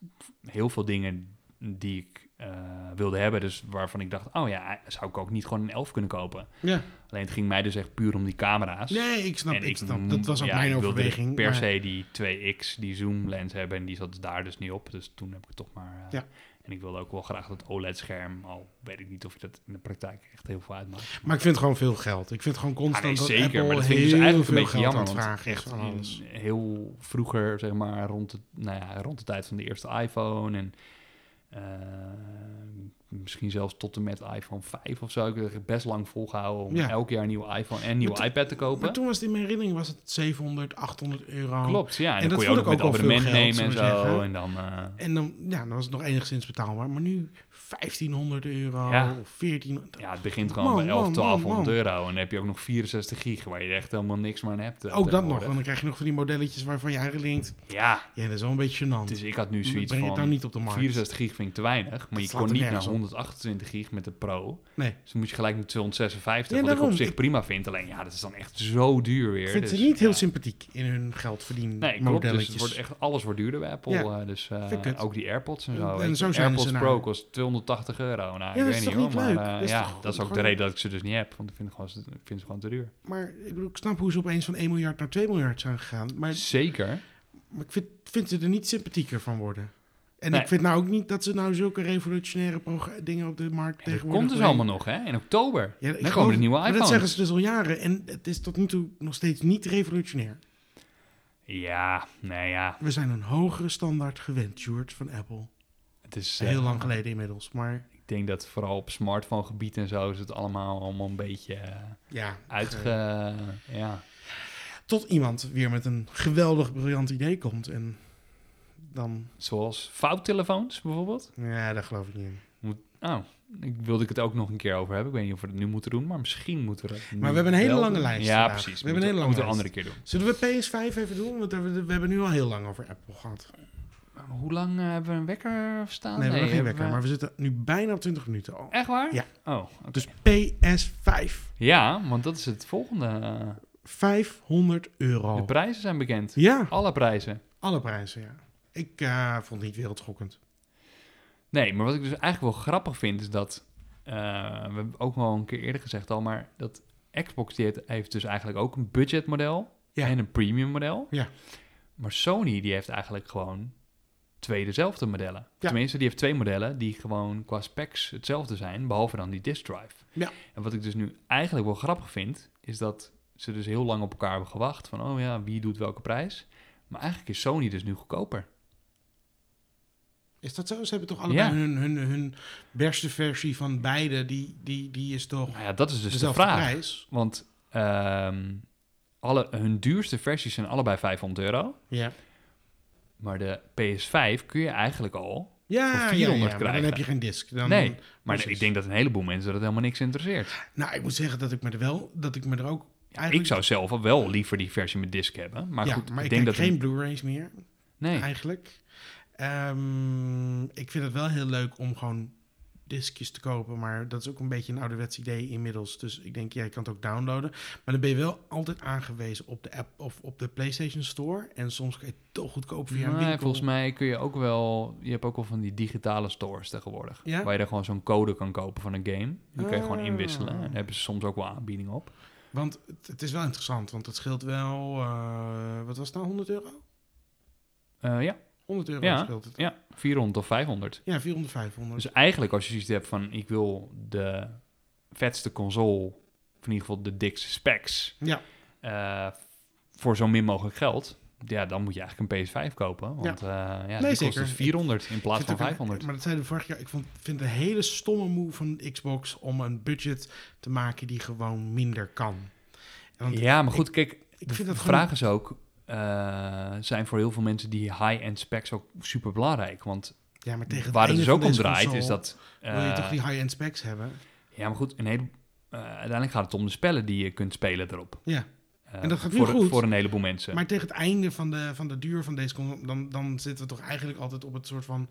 [SPEAKER 1] heel veel dingen die ik eh, wilde hebben. Dus waarvan ik dacht, oh ja, zou ik ook niet gewoon een 11 kunnen kopen.
[SPEAKER 2] Ja.
[SPEAKER 1] Alleen het ging mij dus echt puur om die camera's.
[SPEAKER 2] Nee, ik snap,
[SPEAKER 1] En
[SPEAKER 2] ik snap.
[SPEAKER 1] m-
[SPEAKER 2] Dat was ook
[SPEAKER 1] ja,
[SPEAKER 2] mijn
[SPEAKER 1] ik wilde dus
[SPEAKER 2] overweging.
[SPEAKER 1] per
[SPEAKER 2] maar-
[SPEAKER 1] se die 2x, die zoom lens hebben. En die zat daar dus niet op. Dus toen heb ik het toch maar... eh,
[SPEAKER 2] Ja.
[SPEAKER 1] En ik wilde ook wel graag dat OLED-scherm. Al weet ik niet of je dat in de praktijk echt heel veel uitmaakt.
[SPEAKER 2] Maar ik vind het gewoon veel geld. Ik vind het gewoon constant
[SPEAKER 1] Ah, nee,
[SPEAKER 2] dat
[SPEAKER 1] zeker,
[SPEAKER 2] Apple
[SPEAKER 1] maar dat
[SPEAKER 2] heel
[SPEAKER 1] vind ik dus eigenlijk een
[SPEAKER 2] veel
[SPEAKER 1] beetje
[SPEAKER 2] geld
[SPEAKER 1] jammer.
[SPEAKER 2] aan
[SPEAKER 1] want
[SPEAKER 2] het vragen is
[SPEAKER 1] echt
[SPEAKER 2] van alles.
[SPEAKER 1] in- heel vroeger, zeg maar, rond de, nou ja, rond de tijd van de eerste iPhone en eh, misschien zelfs tot en met iPhone 5 of zo. Ik heb het best lang volgehouden om
[SPEAKER 2] Ja.
[SPEAKER 1] elk jaar een nieuwe iPhone en een nieuwe
[SPEAKER 2] toen-
[SPEAKER 1] iPad te kopen.
[SPEAKER 2] Maar toen was het in mijn herinnering was het 700, 800 euro.
[SPEAKER 1] Klopt, ja. En, dan
[SPEAKER 2] En dat
[SPEAKER 1] kon je ook
[SPEAKER 2] vond
[SPEAKER 1] nog
[SPEAKER 2] ik
[SPEAKER 1] met
[SPEAKER 2] ook al veel
[SPEAKER 1] abonnement
[SPEAKER 2] geld,
[SPEAKER 1] nemen en
[SPEAKER 2] zullen we
[SPEAKER 1] zo.
[SPEAKER 2] zeggen.
[SPEAKER 1] En dan, eh,
[SPEAKER 2] En dan, ja, dan was het nog enigszins betaalbaar. Maar nu 1500 euro
[SPEAKER 1] Ja.
[SPEAKER 2] of 1400.
[SPEAKER 1] ja, het begint gewoon
[SPEAKER 2] Man,
[SPEAKER 1] bij 11,
[SPEAKER 2] man,
[SPEAKER 1] 1200
[SPEAKER 2] man,
[SPEAKER 1] euro. En dan heb je ook nog 64 gig waar je echt helemaal niks meer aan hebt. eh,
[SPEAKER 2] ook dat nog.
[SPEAKER 1] tegenwoordig.
[SPEAKER 2] Want dan krijg je nog van die modelletjes waarvan je eigenlijk denkt...
[SPEAKER 1] Ja,
[SPEAKER 2] Ja, dat is wel een beetje gênant.
[SPEAKER 1] dus ik had nu
[SPEAKER 2] breng
[SPEAKER 1] zoiets
[SPEAKER 2] je het
[SPEAKER 1] van...
[SPEAKER 2] dan niet op de markt.
[SPEAKER 1] 64 gig vind ik te weinig, maar
[SPEAKER 2] Dat
[SPEAKER 1] je
[SPEAKER 2] slaat
[SPEAKER 1] kon
[SPEAKER 2] er
[SPEAKER 1] niet naar
[SPEAKER 2] nergens op.
[SPEAKER 1] 128 gig met de Pro.
[SPEAKER 2] Nee.
[SPEAKER 1] Dus dan moet je gelijk met 256,
[SPEAKER 2] Ja,
[SPEAKER 1] wat ik op
[SPEAKER 2] daarom.
[SPEAKER 1] zich prima vind. Alleen ja, dat is dan echt zo duur weer.
[SPEAKER 2] Ik vind
[SPEAKER 1] dus,
[SPEAKER 2] ze niet heel
[SPEAKER 1] ja.
[SPEAKER 2] sympathiek in hun geld verdienen
[SPEAKER 1] Nee, klopt. Dus
[SPEAKER 2] modelletjes.
[SPEAKER 1] het wordt echt, alles wordt duurder bij Apple.
[SPEAKER 2] Ja,
[SPEAKER 1] eh, dus eh,
[SPEAKER 2] vind ik het.
[SPEAKER 1] ook die AirPods en zo.
[SPEAKER 2] En- en
[SPEAKER 1] weet je.
[SPEAKER 2] zo zijn
[SPEAKER 1] AirPods
[SPEAKER 2] ze naar-
[SPEAKER 1] Pro kost 280 euro. Nou, ik weet
[SPEAKER 2] dat is
[SPEAKER 1] niet
[SPEAKER 2] toch
[SPEAKER 1] hoor.
[SPEAKER 2] niet
[SPEAKER 1] maar
[SPEAKER 2] leuk?
[SPEAKER 1] eh,
[SPEAKER 2] Dat is
[SPEAKER 1] ja,
[SPEAKER 2] toch
[SPEAKER 1] dat is ook de
[SPEAKER 2] gewoon-
[SPEAKER 1] reden dat ik ze dus niet heb. Want ik vind, gewoon, ik vind ze gewoon te duur.
[SPEAKER 2] Maar ik, bedoel, ik snap hoe ze op eens van 1 miljard naar 2 miljard zijn gegaan. Maar,
[SPEAKER 1] Zeker.
[SPEAKER 2] maar ik vind, vind ze er niet sympathieker van worden. En
[SPEAKER 1] Nee.
[SPEAKER 2] ik vind nou ook niet dat ze nou zulke revolutionaire progra- dingen op de markt
[SPEAKER 1] En dat
[SPEAKER 2] tegenwoordig...
[SPEAKER 1] komt dus
[SPEAKER 2] brengen.
[SPEAKER 1] allemaal nog, hè? In oktober.
[SPEAKER 2] Ja, ik
[SPEAKER 1] Dan komen
[SPEAKER 2] geloof-
[SPEAKER 1] de nieuwe
[SPEAKER 2] maar Dat
[SPEAKER 1] iPhones.
[SPEAKER 2] zeggen ze dus al jaren. En het is tot nu toe nog steeds niet revolutionair.
[SPEAKER 1] Ja, nou ja.
[SPEAKER 2] We zijn een hogere standaard gewend, George, van Apple.
[SPEAKER 1] Het is eh,
[SPEAKER 2] Heel lang geleden inmiddels. Maar
[SPEAKER 1] Ik denk dat vooral op smartphone gebied en zo is het allemaal, allemaal een beetje eh,
[SPEAKER 2] ja,
[SPEAKER 1] uitge...
[SPEAKER 2] ge-
[SPEAKER 1] ja.
[SPEAKER 2] tot iemand weer met een geweldig, briljant idee komt. En dan...
[SPEAKER 1] Zoals fouttelefoons bijvoorbeeld.
[SPEAKER 2] Ja, daar geloof ik niet in.
[SPEAKER 1] Oh, ik wilde ik het ook nog een keer over hebben. Ik weet niet of we het nu moeten doen, maar misschien moeten we dat nu
[SPEAKER 2] Maar we hebben een hele
[SPEAKER 1] wel
[SPEAKER 2] lange
[SPEAKER 1] doen.
[SPEAKER 2] lijst
[SPEAKER 1] Ja,
[SPEAKER 2] vandaag.
[SPEAKER 1] precies.
[SPEAKER 2] We hebben een hele
[SPEAKER 1] moeten
[SPEAKER 2] lange
[SPEAKER 1] we een andere keer doen.
[SPEAKER 2] Zullen we PS5 even doen? Want we we hebben nu al heel lang over Apple gehad.
[SPEAKER 1] Maar hoe lang eh, hebben we een wekker staan?
[SPEAKER 2] Oh, nee, we hebben nog geen
[SPEAKER 1] hebben
[SPEAKER 2] wekker, maar we zitten nu bijna op 20 minuten al.
[SPEAKER 1] Echt waar?
[SPEAKER 2] Ja.
[SPEAKER 1] Oh, oké.
[SPEAKER 2] Dus PS5,
[SPEAKER 1] Ja, want dat is het volgende. eh,
[SPEAKER 2] 500 euro.
[SPEAKER 1] De prijzen zijn bekend.
[SPEAKER 2] Oh. ja,
[SPEAKER 1] Alle prijzen.
[SPEAKER 2] alle prijzen, ja. Ik eh, vond het niet wereldschokkend.
[SPEAKER 1] Nee, maar wat ik dus eigenlijk wel grappig vind is dat. eh, we hebben ook wel een keer eerder gezegd al, maar dat Xbox die heeft, heeft dus eigenlijk ook een budgetmodel
[SPEAKER 2] Ja.
[SPEAKER 1] en een premium model.
[SPEAKER 2] Ja.
[SPEAKER 1] Maar Sony die heeft eigenlijk gewoon twee dezelfde modellen.
[SPEAKER 2] Ja.
[SPEAKER 1] Tenminste, die heeft twee modellen die gewoon qua specs hetzelfde zijn, behalve dan die disk drive.
[SPEAKER 2] Ja.
[SPEAKER 1] En wat ik dus nu eigenlijk wel grappig vind, is dat ze dus heel lang op elkaar hebben gewacht van, oh ja, wie doet welke prijs? Maar eigenlijk is Sony dus nu goedkoper.
[SPEAKER 2] Is dat zo? Ze hebben toch allebei
[SPEAKER 1] Ja.
[SPEAKER 2] hun, hun, hun beste versie van beide, die, die, die is toch
[SPEAKER 1] Nou ja, dat is dus
[SPEAKER 2] dezelfde
[SPEAKER 1] de vraag.
[SPEAKER 2] prijs?
[SPEAKER 1] Want ehm, alle, hun duurste versies zijn allebei 500 euro.
[SPEAKER 2] Ja.
[SPEAKER 1] Maar de PS5 kun je eigenlijk al.
[SPEAKER 2] Ja,
[SPEAKER 1] Voor
[SPEAKER 2] ja,
[SPEAKER 1] 400
[SPEAKER 2] ja, maar
[SPEAKER 1] krijgen.
[SPEAKER 2] dan heb je geen disk. Dan,
[SPEAKER 1] nee, maar
[SPEAKER 2] precies.
[SPEAKER 1] ik denk dat een heleboel mensen dat helemaal niks interesseert.
[SPEAKER 2] Nou, ik moet zeggen dat ik me er wel, dat ik me er ook eigenlijk...
[SPEAKER 1] Ik zou zelf al wel liever die versie met disc hebben. Maar
[SPEAKER 2] ja,
[SPEAKER 1] goed,
[SPEAKER 2] maar
[SPEAKER 1] ik
[SPEAKER 2] ik,
[SPEAKER 1] denk dat...
[SPEAKER 2] kijk geen
[SPEAKER 1] een-
[SPEAKER 2] Blu-rays meer.
[SPEAKER 1] nee,
[SPEAKER 2] eigenlijk. Ehm, ik vind het wel heel leuk om gewoon diskjes te kopen. Maar dat is ook een beetje een ouderwets idee inmiddels. Dus ik denk, ja, je kan het ook downloaden. Maar dan ben je wel altijd aangewezen op de app of op de PlayStation Store. En soms kan je het toch goedkoop via een
[SPEAKER 1] Nee,
[SPEAKER 2] winkel.
[SPEAKER 1] Nou, volgens mij kun je ook wel... Je hebt ook wel van die digitale stores tegenwoordig.
[SPEAKER 2] Ja?
[SPEAKER 1] Waar je dan gewoon zo'n code kan kopen van een game. Die kun je gewoon
[SPEAKER 2] Ah.
[SPEAKER 1] inwisselen. En daar hebben ze soms ook wel aanbiedingen op.
[SPEAKER 2] Want het, het is wel interessant, want het scheelt wel, eh, wat was het nou, 100 euro?
[SPEAKER 1] Eh, ja,
[SPEAKER 2] 100 euro
[SPEAKER 1] Ja.
[SPEAKER 2] scheelt het.
[SPEAKER 1] ja, 400 of 500.
[SPEAKER 2] Ja, 400, 500.
[SPEAKER 1] Dus eigenlijk als je zoiets hebt van... Ik wil de vetste console... Of in ieder geval de dikste specs...
[SPEAKER 2] ja,
[SPEAKER 1] eh, voor zo min mogelijk geld. Ja, dan moet je eigenlijk een PS5 kopen. Want eh, ja, ja
[SPEAKER 2] Nee,
[SPEAKER 1] die kost
[SPEAKER 2] zeker.
[SPEAKER 1] dus 400 in plaats
[SPEAKER 2] Zit
[SPEAKER 1] van
[SPEAKER 2] ook een-
[SPEAKER 1] 500.
[SPEAKER 2] maar dat zeiden we vorig jaar. Ik vond, vind het een hele stomme move van Xbox om een budget te maken die gewoon minder kan. Want
[SPEAKER 1] ja, maar goed, kijk,
[SPEAKER 2] ik
[SPEAKER 1] de
[SPEAKER 2] vind dat
[SPEAKER 1] vraag is ook... eh, zijn voor heel veel mensen die high-end specs ook super belangrijk. Want
[SPEAKER 2] Ja, maar tegen het
[SPEAKER 1] waar het
[SPEAKER 2] einde
[SPEAKER 1] dus ook
[SPEAKER 2] van
[SPEAKER 1] om
[SPEAKER 2] deze
[SPEAKER 1] draait,
[SPEAKER 2] console
[SPEAKER 1] is dat...
[SPEAKER 2] wil je
[SPEAKER 1] eh,
[SPEAKER 2] toch die high-end specs hebben?
[SPEAKER 1] Ja, maar goed, een hele, eh, uiteindelijk gaat het om de spellen die je kunt spelen erop.
[SPEAKER 2] Ja.
[SPEAKER 1] Eh,
[SPEAKER 2] En dat gaat nu
[SPEAKER 1] voor,
[SPEAKER 2] goed.
[SPEAKER 1] Voor een heleboel mensen.
[SPEAKER 2] Maar tegen het einde van de, van de duur van deze console, dan, dan zitten we toch eigenlijk altijd op het soort van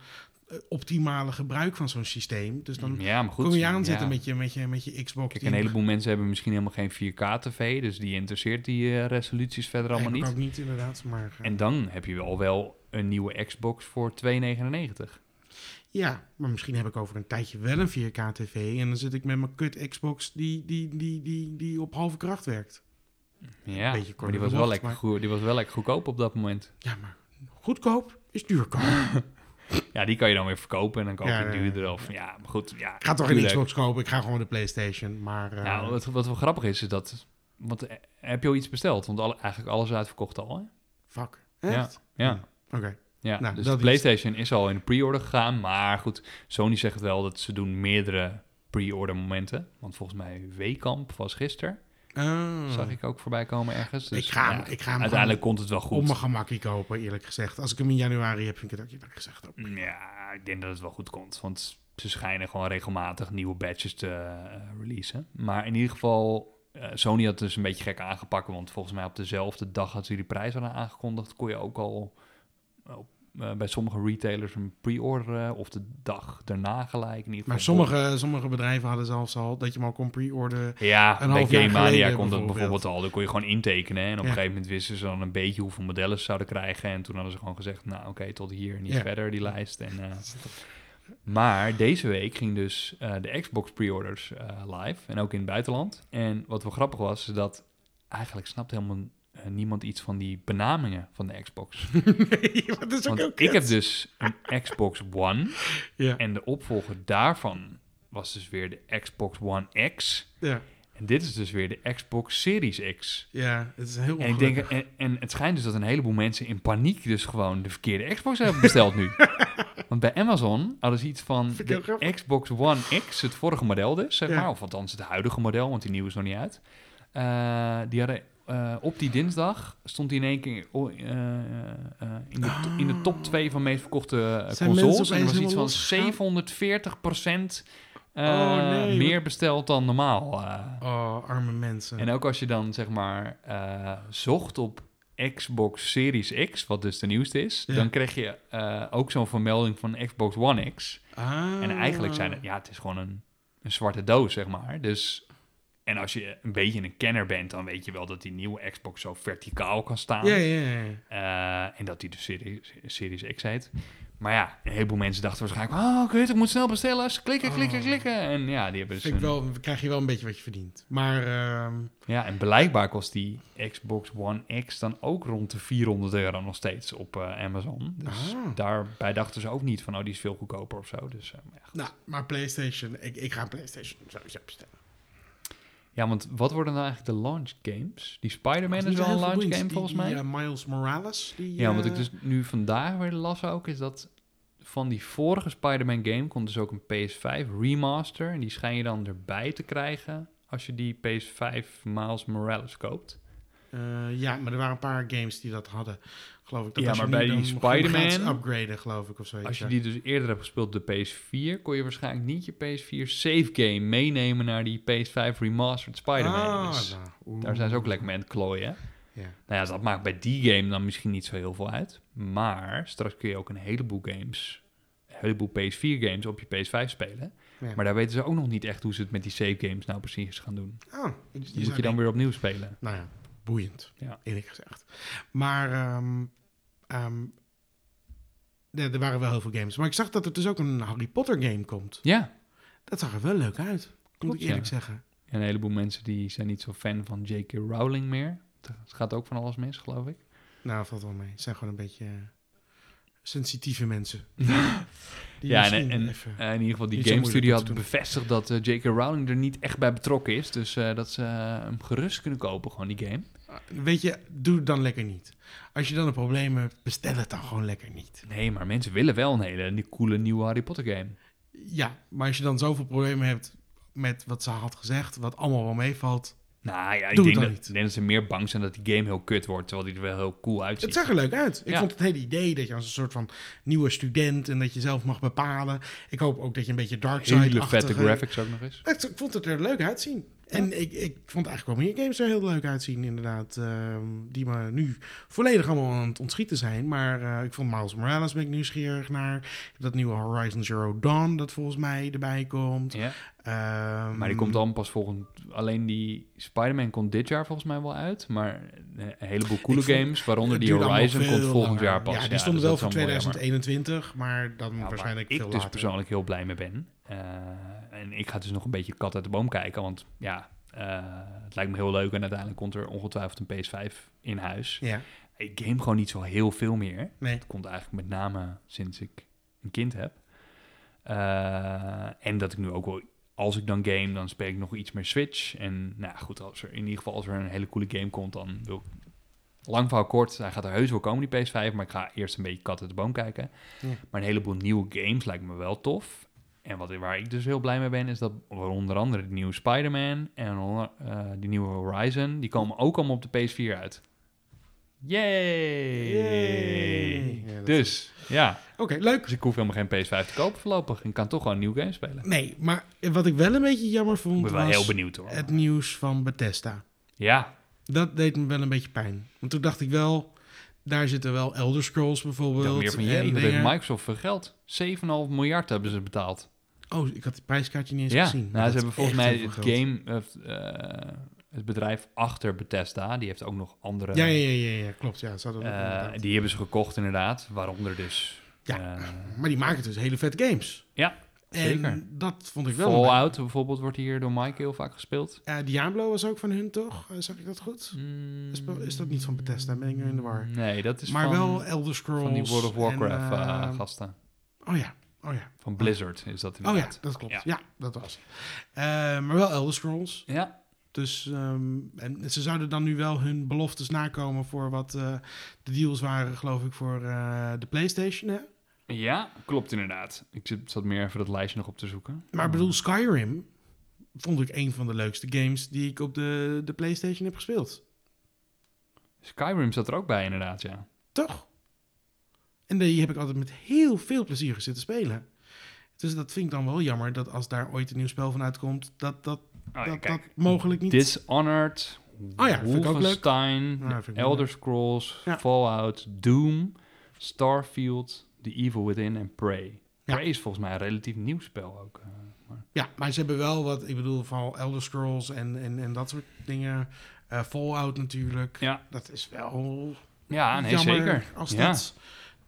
[SPEAKER 2] eh, optimale gebruik van zo'n systeem. Dus dan
[SPEAKER 1] ja, maar Mhm. goed.
[SPEAKER 2] kom je aan
[SPEAKER 1] ja.
[SPEAKER 2] zitten met, je, met, je, met je Xbox.
[SPEAKER 1] Kijk,
[SPEAKER 2] die-
[SPEAKER 1] een heleboel mensen hebben misschien helemaal geen 4K-tv, dus die interesseert die eh, resoluties verder
[SPEAKER 2] Nee,
[SPEAKER 1] allemaal
[SPEAKER 2] dat
[SPEAKER 1] niet.
[SPEAKER 2] Ook niet, inderdaad. Maar, eh,
[SPEAKER 1] En dan heb je al wel een nieuwe Xbox voor 2,99.
[SPEAKER 2] Ja, maar misschien heb ik over een tijdje wel een 4K TV. En dan zit ik met mijn kut Xbox die, die, die, die, die op halve kracht werkt.
[SPEAKER 1] Ja,
[SPEAKER 2] Beetje kort
[SPEAKER 1] maar die
[SPEAKER 2] door
[SPEAKER 1] was,
[SPEAKER 2] de
[SPEAKER 1] wel
[SPEAKER 2] bocht,
[SPEAKER 1] lekker
[SPEAKER 2] maar-
[SPEAKER 1] goe- die was wel lekker goedkoop op dat moment.
[SPEAKER 2] Ja, maar goedkoop is duurkoop.
[SPEAKER 1] Ja, die kan je dan weer verkopen en dan koop je
[SPEAKER 2] Ja,
[SPEAKER 1] een
[SPEAKER 2] ja, ja.
[SPEAKER 1] duurder. Of, ja, maar goed. Ja,
[SPEAKER 2] Ik ga toch geen
[SPEAKER 1] tuurlijk.
[SPEAKER 2] Xbox kopen, ik ga gewoon de PlayStation. Maar eh,
[SPEAKER 1] Nou, wat, wat wel grappig is, is dat... Want eh, heb je al iets besteld? Want alle, eigenlijk alles is uitverkocht al, hè?
[SPEAKER 2] fuck. Echt?
[SPEAKER 1] Ja,
[SPEAKER 2] Hm,
[SPEAKER 1] ja.
[SPEAKER 2] Oké.
[SPEAKER 1] ja.
[SPEAKER 2] Nou,
[SPEAKER 1] dus
[SPEAKER 2] dat
[SPEAKER 1] de
[SPEAKER 2] is-
[SPEAKER 1] PlayStation is al in de pre-order gegaan. Maar goed, Sony zegt wel dat ze doen meerdere pre-order momenten. Want volgens mij Wekamp was gisteren.
[SPEAKER 2] Oh.
[SPEAKER 1] Zag ik ook voorbij komen ergens. Dus,
[SPEAKER 2] ik ga hem,
[SPEAKER 1] ja,
[SPEAKER 2] ik ga hem
[SPEAKER 1] uiteindelijk komt het wel goed.
[SPEAKER 2] gewoon op mijn gemakkie kopen, eerlijk gezegd. Als ik hem in januari heb, vind ik het ook eerlijk gezegd. Ook.
[SPEAKER 1] Ja, ik denk dat het wel goed komt. Want ze schijnen gewoon regelmatig nieuwe badges te eh, releasen. Maar in ieder geval, eh, Sony had het dus een beetje gek aangepakt. Want volgens mij op dezelfde dag dat ze die prijs hadden aangekondigd, kon je ook al op, eh, bij sommige retailers een pre-order eh, of de dag daarna gelijk. In ieder geval
[SPEAKER 2] Maar sommige, sommige bedrijven hadden zelfs al dat je hem al kon pre-orderen.
[SPEAKER 1] Ja,
[SPEAKER 2] een
[SPEAKER 1] bij
[SPEAKER 2] half jaar
[SPEAKER 1] Game Mania
[SPEAKER 2] geleden
[SPEAKER 1] komt dat
[SPEAKER 2] bijvoorbeeld.
[SPEAKER 1] bijvoorbeeld al. Dan kon je gewoon intekenen. En op
[SPEAKER 2] Ja.
[SPEAKER 1] een gegeven moment wisten ze dan een beetje hoeveel modellen ze zouden krijgen. En toen hadden ze gewoon gezegd, nou oké, tot hier, niet
[SPEAKER 2] Ja.
[SPEAKER 1] verder die lijst. En, eh, Maar deze week ging dus eh, de Xbox pre-orders eh, live en ook in het buitenland. En wat wel grappig was, is dat eigenlijk snapt helemaal eh, niemand iets van die benamingen van de Xbox.
[SPEAKER 2] nee, maar dat is ook
[SPEAKER 1] Want
[SPEAKER 2] heel
[SPEAKER 1] ik
[SPEAKER 2] kut.
[SPEAKER 1] heb dus een Xbox One
[SPEAKER 2] Ja,
[SPEAKER 1] en de opvolger daarvan was dus weer de Xbox One X.
[SPEAKER 2] ja,
[SPEAKER 1] En dit is dus weer de Xbox Series X.
[SPEAKER 2] ja, het is heel
[SPEAKER 1] En, ik
[SPEAKER 2] ongelukkig.
[SPEAKER 1] denk, en, en het schijnt dus dat een heleboel mensen in paniek dus gewoon de verkeerde Xbox hebben besteld nu. Want bij Amazon hadden ze iets van
[SPEAKER 2] Vind ik heel
[SPEAKER 1] de
[SPEAKER 2] grappig.
[SPEAKER 1] Xbox One X, het vorige model dus, zeg
[SPEAKER 2] Ja.
[SPEAKER 1] maar. Of althans het huidige model, want die nieuwe is nog niet uit. Eh, die hadden, eh, op die dinsdag stond die in één keer oh, eh, eh, in, de, to- in de top 2 van meest verkochte eh,
[SPEAKER 2] Ah. Zijn
[SPEAKER 1] consoles.
[SPEAKER 2] mensen
[SPEAKER 1] En er was
[SPEAKER 2] opeens
[SPEAKER 1] iets van
[SPEAKER 2] helemaal
[SPEAKER 1] 740 eh,
[SPEAKER 2] Oh, nee,
[SPEAKER 1] meer
[SPEAKER 2] wat-
[SPEAKER 1] besteld dan normaal. eh.
[SPEAKER 2] Oh, arme mensen.
[SPEAKER 1] En ook als je dan zeg maar eh, zocht op Xbox Series X, wat dus de nieuwste is,
[SPEAKER 2] Ja.
[SPEAKER 1] dan kreeg je eh, ook zo'n vermelding van Xbox One X.
[SPEAKER 2] Ah.
[SPEAKER 1] eh, En eigenlijk zijn het, ja, het is gewoon een, een zwarte doos, zeg maar. Dus, en als je een beetje een kenner bent, dan weet je wel dat die nieuwe Xbox zo verticaal kan staan.
[SPEAKER 2] Ja, ja, ja.
[SPEAKER 1] Eh, en dat die de Series, Series X heet. Maar ja, een heleboel mensen dachten waarschijnlijk, oh, kut, ik moet snel bestellen. Klikken, klikken,
[SPEAKER 2] Oh.
[SPEAKER 1] klikken. En ja, die hebben dus
[SPEAKER 2] Vind ik
[SPEAKER 1] een-
[SPEAKER 2] wel, krijg je wel een beetje wat je verdient. Maar ehm,
[SPEAKER 1] Ja, en blijkbaar kost die Xbox One X dan ook rond de 400 euro nog steeds op eh, Amazon. Dus
[SPEAKER 2] Ah.
[SPEAKER 1] daarbij dachten ze ook niet van, oh, die is veel goedkoper of zo. Dus, eh, maar ja.
[SPEAKER 2] nou, maar PlayStation, ik, ik ga een PlayStation sowieso bestellen.
[SPEAKER 1] ja, want wat worden nou eigenlijk de launch games? Die
[SPEAKER 2] Er
[SPEAKER 1] Spider-Man
[SPEAKER 2] niet
[SPEAKER 1] is wel
[SPEAKER 2] heel
[SPEAKER 1] een
[SPEAKER 2] veel
[SPEAKER 1] launch
[SPEAKER 2] boeiends.
[SPEAKER 1] game
[SPEAKER 2] Die-
[SPEAKER 1] volgens
[SPEAKER 2] die,
[SPEAKER 1] mij.
[SPEAKER 2] eh, Miles Morales. Die,
[SPEAKER 1] ja, wat
[SPEAKER 2] eh,
[SPEAKER 1] ik dus nu vandaag weer las ook, is dat van die vorige Spider-Man game komt dus ook een PS5 remaster. En die schijn je dan erbij te krijgen als je die PS5 Miles Morales koopt.
[SPEAKER 2] eh, ja, maar er waren een paar games die dat hadden. Geloof ik. Dat
[SPEAKER 1] Ja,
[SPEAKER 2] als je
[SPEAKER 1] maar
[SPEAKER 2] nu
[SPEAKER 1] bij
[SPEAKER 2] dan
[SPEAKER 1] die
[SPEAKER 2] gewoon gaat
[SPEAKER 1] Spider-Man-
[SPEAKER 2] upgraden, geloof ik, of zoiets.
[SPEAKER 1] Als je
[SPEAKER 2] ja.
[SPEAKER 1] die dus eerder hebt gespeeld op de PS4, kon je waarschijnlijk niet je PS4 save game meenemen naar die PS5 remastered Spider-Man.
[SPEAKER 2] Ah,
[SPEAKER 1] Dus
[SPEAKER 2] nou, oeh.
[SPEAKER 1] daar zijn ze ook lekker mee aan het klooien.
[SPEAKER 2] Ja.
[SPEAKER 1] Nou ja, dat maakt bij die game dan misschien niet zo heel veel uit. Maar straks kun je ook een heleboel games, een heleboel PS4 games op je PS5 spelen.
[SPEAKER 2] Ja.
[SPEAKER 1] Maar daar weten ze ook nog niet echt hoe ze het met die save games nou precies gaan doen.
[SPEAKER 2] Ah,
[SPEAKER 1] Dus die moet je dan weer opnieuw spelen.
[SPEAKER 2] Nou ja, boeiend,
[SPEAKER 1] Ja.
[SPEAKER 2] eerlijk gezegd. Maar ehm, ehm, er er waren wel heel veel games. Maar ik zag dat er dus ook een Harry Potter game komt.
[SPEAKER 1] Ja,
[SPEAKER 2] Dat zag er wel leuk uit, moet
[SPEAKER 1] Klopt,
[SPEAKER 2] ik eerlijk
[SPEAKER 1] ja.
[SPEAKER 2] zeggen.
[SPEAKER 1] en een heleboel mensen die zijn niet zo fan van J.K. Rowling meer. Het gaat ook van alles mis, geloof ik.
[SPEAKER 2] Nou, valt wel mee. Het zijn gewoon een beetje eh, sensitieve mensen. Die
[SPEAKER 1] ja, en,
[SPEAKER 2] misschien
[SPEAKER 1] en
[SPEAKER 2] even-
[SPEAKER 1] eh, in ieder geval die
[SPEAKER 2] niet zo
[SPEAKER 1] Game
[SPEAKER 2] moeilijk
[SPEAKER 1] Studio
[SPEAKER 2] moeten
[SPEAKER 1] had
[SPEAKER 2] doen.
[SPEAKER 1] bevestigd dat eh, J.K. Rowling er niet echt bij betrokken is. Dus eh, dat ze eh, hem gerust kunnen kopen, gewoon die game.
[SPEAKER 2] Weet je, doe het dan lekker niet. Als je dan een probleem hebt, bestel het dan gewoon lekker niet.
[SPEAKER 1] Nee, maar mensen willen wel een hele die coole nieuwe Harry Potter game.
[SPEAKER 2] Ja, maar als je dan zoveel problemen hebt met wat ze had gezegd, wat allemaal wel meevalt.
[SPEAKER 1] Nou ja, ik
[SPEAKER 2] Doe het
[SPEAKER 1] denk
[SPEAKER 2] dan
[SPEAKER 1] dat,
[SPEAKER 2] niet.
[SPEAKER 1] ik denk dat ze meer bang zijn dat die game heel kut wordt, terwijl die er wel heel cool uitziet.
[SPEAKER 2] Het zag er leuk uit. Ik
[SPEAKER 1] Ja.
[SPEAKER 2] vond het hele idee dat je als een soort van nieuwe student en dat je zelf mag bepalen. Ik hoop ook dat je een beetje dark side
[SPEAKER 1] Hele vette graphics ook nog eens.
[SPEAKER 2] Ik vond het er leuk uitzien. En ik, ik vond eigenlijk wel meer games er heel leuk uitzien, inderdaad. ehm, die me nu volledig allemaal aan het ontschieten zijn. Maar eh, ik vond Miles Morales ben ik nieuwsgierig naar. Dat nieuwe Horizon Zero Dawn dat volgens mij erbij komt.
[SPEAKER 1] Ja.
[SPEAKER 2] Ehm,
[SPEAKER 1] Maar die komt dan pas volgend... Alleen die Spider-Man komt dit jaar volgens mij wel uit. Maar een heleboel coole
[SPEAKER 2] Ik vond-
[SPEAKER 1] games, waaronder
[SPEAKER 2] Het
[SPEAKER 1] die
[SPEAKER 2] duurde allemaal
[SPEAKER 1] Horizon, komt
[SPEAKER 2] veel
[SPEAKER 1] volgend
[SPEAKER 2] langer.
[SPEAKER 1] jaar pas.
[SPEAKER 2] Ja, die
[SPEAKER 1] dus
[SPEAKER 2] stonden
[SPEAKER 1] dat
[SPEAKER 2] wel
[SPEAKER 1] is
[SPEAKER 2] voor
[SPEAKER 1] dan wel jammer.
[SPEAKER 2] 2021, maar dan
[SPEAKER 1] Ja, waar
[SPEAKER 2] waarschijnlijk
[SPEAKER 1] ik
[SPEAKER 2] veel
[SPEAKER 1] dus
[SPEAKER 2] later.
[SPEAKER 1] persoonlijk heel blij mee ben. Eh, en ik ga dus nog een beetje kat uit de boom kijken, want ja, eh, het lijkt me heel leuk. En uiteindelijk komt er ongetwijfeld een PS5 in huis.
[SPEAKER 2] Ja,
[SPEAKER 1] Ik game gewoon niet zo heel veel meer.
[SPEAKER 2] nee.
[SPEAKER 1] Het komt eigenlijk met name sinds ik een kind heb. Eh, en dat ik nu ook wel, als ik dan game, dan speel ik nog iets meer Switch. En nou ja, goed, als er, in ieder geval als er een hele coole game komt, dan wil ik... Lang verhaal kort, hij gaat er heus wel komen, die PS5. Maar ik ga eerst een beetje kat uit de boom kijken.
[SPEAKER 2] Ja.
[SPEAKER 1] Maar een heleboel nieuwe games lijkt me wel tof. En wat, waar ik dus heel blij mee ben, is dat onder andere de nieuwe Spider-Man en onder- eh die nieuwe Horizon, die komen ook allemaal op de PS4 uit. Yay!
[SPEAKER 2] Yay! Ja, dat
[SPEAKER 1] dus, ja.
[SPEAKER 2] Oké, leuk.
[SPEAKER 1] Dus ik hoef helemaal geen PS5 te kopen voorlopig. Ik kan toch gewoon een nieuw game spelen.
[SPEAKER 2] Nee, maar wat ik wel een beetje jammer
[SPEAKER 1] Ik
[SPEAKER 2] vond
[SPEAKER 1] ben wel
[SPEAKER 2] was
[SPEAKER 1] heel benieuwd hoor.
[SPEAKER 2] het nieuws van Bethesda.
[SPEAKER 1] Ja,
[SPEAKER 2] Dat deed me wel een beetje pijn. Want toen dacht ik wel, daar zitten wel Elder Scrolls
[SPEAKER 1] ik
[SPEAKER 2] bijvoorbeeld.
[SPEAKER 1] dacht meer van
[SPEAKER 2] en
[SPEAKER 1] je. Dat heeft
[SPEAKER 2] dingen.
[SPEAKER 1] Microsoft voor geld. 7,5 miljard hebben ze betaald.
[SPEAKER 2] Oh, ik had het prijskaartje niet eens
[SPEAKER 1] ja,
[SPEAKER 2] gezien.
[SPEAKER 1] nou,
[SPEAKER 2] Dat
[SPEAKER 1] ze hebben
[SPEAKER 2] is
[SPEAKER 1] volgens
[SPEAKER 2] echt
[SPEAKER 1] mij
[SPEAKER 2] heel
[SPEAKER 1] het
[SPEAKER 2] veel geld.
[SPEAKER 1] game... eh, eh, het bedrijf achter Bethesda, die heeft ook nog andere...
[SPEAKER 2] Ja, ja, ja, ja, ja, klopt. Ja, ze hadden ook
[SPEAKER 1] eh,
[SPEAKER 2] inderdaad.
[SPEAKER 1] die hebben ze gekocht inderdaad, waaronder dus...
[SPEAKER 2] Ja.
[SPEAKER 1] eh,
[SPEAKER 2] Maar die maken dus hele vette games.
[SPEAKER 1] Ja,
[SPEAKER 2] en
[SPEAKER 1] zeker.
[SPEAKER 2] dat vond ik wel. een-
[SPEAKER 1] Fallout bijvoorbeeld wordt hier door Mike heel vaak gespeeld.
[SPEAKER 2] Eh, Diablo was ook van hun, toch? Eh, zag ik dat goed? Mm. Is dat- is dat niet van Bethesda? Ben ik nu in de war?
[SPEAKER 1] Nee, dat is
[SPEAKER 2] maar
[SPEAKER 1] van,
[SPEAKER 2] wel Elder Scrolls.
[SPEAKER 1] van die World of
[SPEAKER 2] en,
[SPEAKER 1] Warcraft eh,
[SPEAKER 2] eh,
[SPEAKER 1] gasten.
[SPEAKER 2] oh ja, oh ja.
[SPEAKER 1] Van Blizzard is dat
[SPEAKER 2] Oh ja,
[SPEAKER 1] inderdaad.
[SPEAKER 2] dat klopt. Ja,
[SPEAKER 1] Ja.
[SPEAKER 2] dat was. Eh, maar wel Elder Scrolls.
[SPEAKER 1] ja.
[SPEAKER 2] Dus ehm, en ze zouden dan nu wel hun beloftes nakomen voor wat eh, de deals waren, geloof ik, voor eh, de PlayStation. Hè?
[SPEAKER 1] Ja. klopt inderdaad. Ik zit- zat meer even dat lijstje nog op te zoeken.
[SPEAKER 2] Maar ik bedoel, Skyrim vond ik een van de leukste games die ik op de, de PlayStation heb gespeeld.
[SPEAKER 1] Skyrim zat er ook bij inderdaad, ja.
[SPEAKER 2] Toch? En die heb ik altijd met heel veel plezier zitten spelen. Dus dat vind ik dan wel jammer dat als daar ooit een nieuw spel van uitkomt, dat dat,
[SPEAKER 1] Oh, ja,
[SPEAKER 2] dat,
[SPEAKER 1] kijk.
[SPEAKER 2] dat mogelijk niet.
[SPEAKER 1] Dishonored,
[SPEAKER 2] Oh ja, vind ik ook leuk.
[SPEAKER 1] Wolfenstein,
[SPEAKER 2] Ja, vind ik wel
[SPEAKER 1] Elder Scrolls,
[SPEAKER 2] Ja.
[SPEAKER 1] Fallout, Doom, Starfield, The Evil Within en Prey.
[SPEAKER 2] Ja.
[SPEAKER 1] Prey is volgens mij een relatief nieuw spel ook. eh, maar-
[SPEAKER 2] Ja, maar ze hebben wel wat, ik bedoel, vooral Elder Scrolls en, en, en dat soort dingen. Eh, Fallout natuurlijk.
[SPEAKER 1] Ja.
[SPEAKER 2] Dat is wel
[SPEAKER 1] Ja, nee,
[SPEAKER 2] jammer
[SPEAKER 1] zeker.
[SPEAKER 2] als
[SPEAKER 1] Ja.
[SPEAKER 2] dat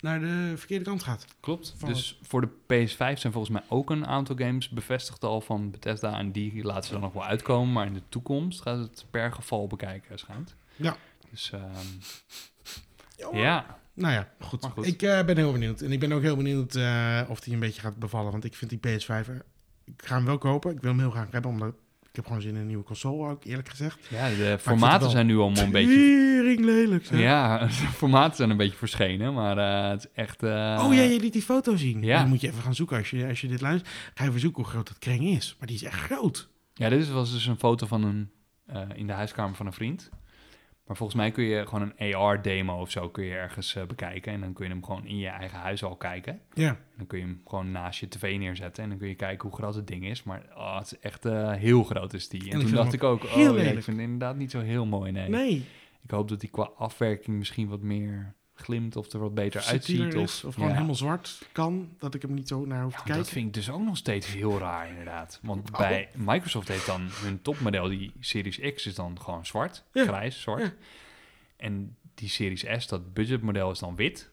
[SPEAKER 2] naar de verkeerde kant gaat.
[SPEAKER 1] Klopt.
[SPEAKER 2] Van
[SPEAKER 1] dus voor de PS5 zijn volgens mij ook een aantal games bevestigd al van Bethesda. En die laten ze dan nog wel uitkomen. Maar in de toekomst gaat het per geval bekijken, schijnt.
[SPEAKER 2] Ja.
[SPEAKER 1] Dus ehm, ja,
[SPEAKER 2] Nou ja, goed.
[SPEAKER 1] Maar goed.
[SPEAKER 2] Ik eh, ben heel benieuwd. En ik ben ook heel benieuwd eh, of die een beetje gaat bevallen. Want ik vind die PS5... er- eh, Ik ga hem wel kopen. Ik wil hem heel graag hebben, omdat ik heb gewoon zin in een nieuwe console ook, eerlijk gezegd.
[SPEAKER 1] ja de
[SPEAKER 2] het
[SPEAKER 1] formaten
[SPEAKER 2] wel
[SPEAKER 1] zijn nu allemaal een beetje...
[SPEAKER 2] lelijk,
[SPEAKER 1] Ja, de formaten zijn een beetje verschenen. Maar eh, het is echt... eh,
[SPEAKER 2] Oh ja, je liet die foto zien.
[SPEAKER 1] Ja.
[SPEAKER 2] Dan moet je even gaan zoeken als je, als je dit luistert. Ga even zoeken hoe groot dat kring is. Maar die is echt groot.
[SPEAKER 1] Ja, dit is- was dus een foto van een... eh, in de huiskamer van een vriend. Maar volgens mij kun je gewoon een AR-demo of zo kun je ergens eh, bekijken. En dan kun je hem gewoon in je eigen huis al kijken.
[SPEAKER 2] Ja.
[SPEAKER 1] Dan kun je hem gewoon naast je tv neerzetten en dan kun je kijken hoe groot het ding is. Maar oh, het is echt eh, heel groot is die. En,
[SPEAKER 2] En ik
[SPEAKER 1] toen
[SPEAKER 2] vind
[SPEAKER 1] dacht
[SPEAKER 2] hem
[SPEAKER 1] ik ook,
[SPEAKER 2] heel
[SPEAKER 1] oh ja, ik
[SPEAKER 2] lelijk.
[SPEAKER 1] vind het inderdaad niet zo heel mooi. Nee.
[SPEAKER 2] Nee.
[SPEAKER 1] Ik hoop dat die qua afwerking misschien wat meer glimt of er wat beter
[SPEAKER 2] Subtieler
[SPEAKER 1] uitziet.
[SPEAKER 2] is,
[SPEAKER 1] Of,
[SPEAKER 2] of gewoon
[SPEAKER 1] Ja.
[SPEAKER 2] helemaal zwart kan, dat ik hem niet zo naar
[SPEAKER 1] Ja, maar
[SPEAKER 2] hoef te kijken. Oh.
[SPEAKER 1] dat vind ik dus ook nog steeds heel raar, inderdaad. Want bij Microsoft heeft dan hun topmodel, die Series X, is dan gewoon zwart,
[SPEAKER 2] Ja.
[SPEAKER 1] grijs, zwart.
[SPEAKER 2] Ja.
[SPEAKER 1] En die Series S, dat budgetmodel, is dan wit.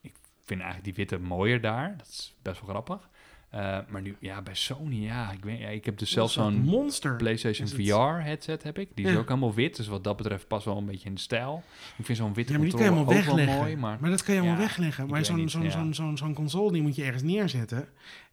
[SPEAKER 1] Ik vind eigenlijk die witte mooier daar. Dat is best wel grappig. Eh, maar nu, ja, bij Sony, ja, ik, weet, ja, ik heb dus zelfs
[SPEAKER 2] Dat is
[SPEAKER 1] zo'n
[SPEAKER 2] monster.
[SPEAKER 1] PlayStation
[SPEAKER 2] Is het-
[SPEAKER 1] VR-headset heb ik. Die is
[SPEAKER 2] Ja.
[SPEAKER 1] ook helemaal wit, dus wat dat betreft past wel een beetje in de stijl. Ik vind zo'n witte
[SPEAKER 2] Ja, maar die kan je
[SPEAKER 1] controller
[SPEAKER 2] helemaal
[SPEAKER 1] ook wel
[SPEAKER 2] wegleggen.
[SPEAKER 1] mooi, maar...
[SPEAKER 2] maar... dat kan je allemaal
[SPEAKER 1] Ja,
[SPEAKER 2] wegleggen.
[SPEAKER 1] ik
[SPEAKER 2] Maar
[SPEAKER 1] weet
[SPEAKER 2] zo'n
[SPEAKER 1] niet,
[SPEAKER 2] zo'n
[SPEAKER 1] ja.
[SPEAKER 2] zo'n zo'n zo'n console die moet je ergens neerzetten.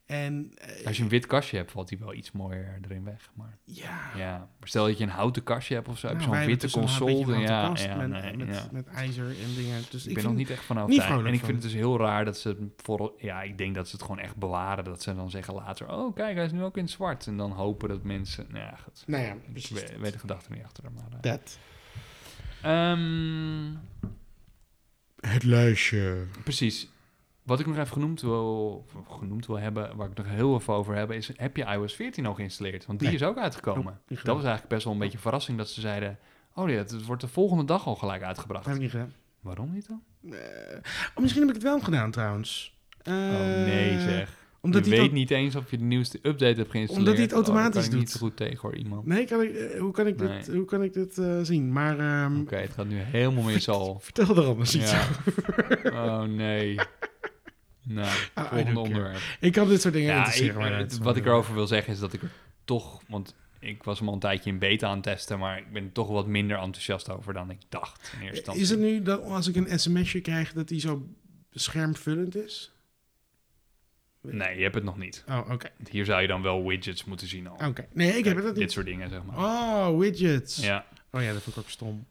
[SPEAKER 2] En eh,
[SPEAKER 1] Als je een wit kastje hebt, valt die wel iets mooier erin weg. Maar
[SPEAKER 2] ja,
[SPEAKER 1] Ja, maar stel dat je een houten kastje hebt of zo, heb
[SPEAKER 2] Nou,
[SPEAKER 1] je
[SPEAKER 2] wij
[SPEAKER 1] zo'n witte
[SPEAKER 2] hebben dus een beetje
[SPEAKER 1] console.
[SPEAKER 2] een houten
[SPEAKER 1] ja, ja,
[SPEAKER 2] kast met,
[SPEAKER 1] nee,
[SPEAKER 2] met,
[SPEAKER 1] ja.
[SPEAKER 2] met ijzer en dingen. Dus
[SPEAKER 1] ik ben
[SPEAKER 2] ik
[SPEAKER 1] nog
[SPEAKER 2] vind-
[SPEAKER 1] niet echt van
[SPEAKER 2] niet
[SPEAKER 1] overtuigd. En
[SPEAKER 2] vrolijk
[SPEAKER 1] ik vind
[SPEAKER 2] van.
[SPEAKER 1] het dus heel raar dat ze het voor... Ja, ik denk dat ze het gewoon echt bewaren. Dat ze dan zeggen later, oh kijk, hij is nu ook in het zwart. En dan hopen dat mensen... Nou ja, goed.
[SPEAKER 2] Nou ja,
[SPEAKER 1] Ik
[SPEAKER 2] precies.
[SPEAKER 1] weet, weet de gedachte niet achter. Maar, eh.
[SPEAKER 2] Dat.
[SPEAKER 1] Ehm,
[SPEAKER 2] Het lijstje.
[SPEAKER 1] precies. Wat ik nog even genoemd wil, of genoemd wil hebben, waar ik nog heel even over heb, is heb je iOS 14 al geïnstalleerd? Want die
[SPEAKER 2] Nee.
[SPEAKER 1] is ook uitgekomen.
[SPEAKER 2] niet gedaan.
[SPEAKER 1] dat was eigenlijk best wel een beetje een verrassing dat ze zeiden, oh ja, het wordt de volgende dag al gelijk
[SPEAKER 2] Dat
[SPEAKER 1] uitgebracht.
[SPEAKER 2] heb ik niet gedaan.
[SPEAKER 1] Waarom niet dan?
[SPEAKER 2] Eh, oh, misschien heb ik het wel gedaan trouwens. Eh,
[SPEAKER 1] oh nee zeg.
[SPEAKER 2] Omdat
[SPEAKER 1] je
[SPEAKER 2] hij
[SPEAKER 1] weet
[SPEAKER 2] het au-
[SPEAKER 1] niet eens of je de nieuwste update hebt geïnstalleerd.
[SPEAKER 2] Omdat hij het
[SPEAKER 1] Oh, daar
[SPEAKER 2] automatisch
[SPEAKER 1] kan ik
[SPEAKER 2] doet.
[SPEAKER 1] niet zo goed tegen hoor, iemand.
[SPEAKER 2] Nee, kan ik, eh, hoe kan ik dit,
[SPEAKER 1] Nee.
[SPEAKER 2] hoe kan ik dit eh, zien? Maar ehm,
[SPEAKER 1] Oké, het gaat nu helemaal mis al.
[SPEAKER 2] vertel er anders iets
[SPEAKER 1] Ja.
[SPEAKER 2] over.
[SPEAKER 1] Oh nee. Nou,
[SPEAKER 2] don't
[SPEAKER 1] volgende
[SPEAKER 2] care.
[SPEAKER 1] onderwerp.
[SPEAKER 2] Ik kan dit soort dingen
[SPEAKER 1] Ja,
[SPEAKER 2] interesseren.
[SPEAKER 1] ik-
[SPEAKER 2] maar
[SPEAKER 1] eh,
[SPEAKER 2] dat-
[SPEAKER 1] wat ik erover wil zeggen is dat ik er toch... Want ik was hem al een tijdje in beta aan het testen... maar ik ben er toch wat minder enthousiast over dan ik dacht in eerste instantie.
[SPEAKER 2] Is het nu dat als ik een sms'je krijg, dat die zo schermvullend is?
[SPEAKER 1] Nee, je hebt het nog niet.
[SPEAKER 2] Oh, oké.
[SPEAKER 1] Hier zou je dan wel widgets moeten zien al.
[SPEAKER 2] Oké. Nee, Oh, ik heb
[SPEAKER 1] Kijk,
[SPEAKER 2] dat
[SPEAKER 1] Dit
[SPEAKER 2] niet.
[SPEAKER 1] soort dingen, zeg maar.
[SPEAKER 2] Oh, widgets.
[SPEAKER 1] Ja.
[SPEAKER 2] Oh ja, dat vond ik ook stom.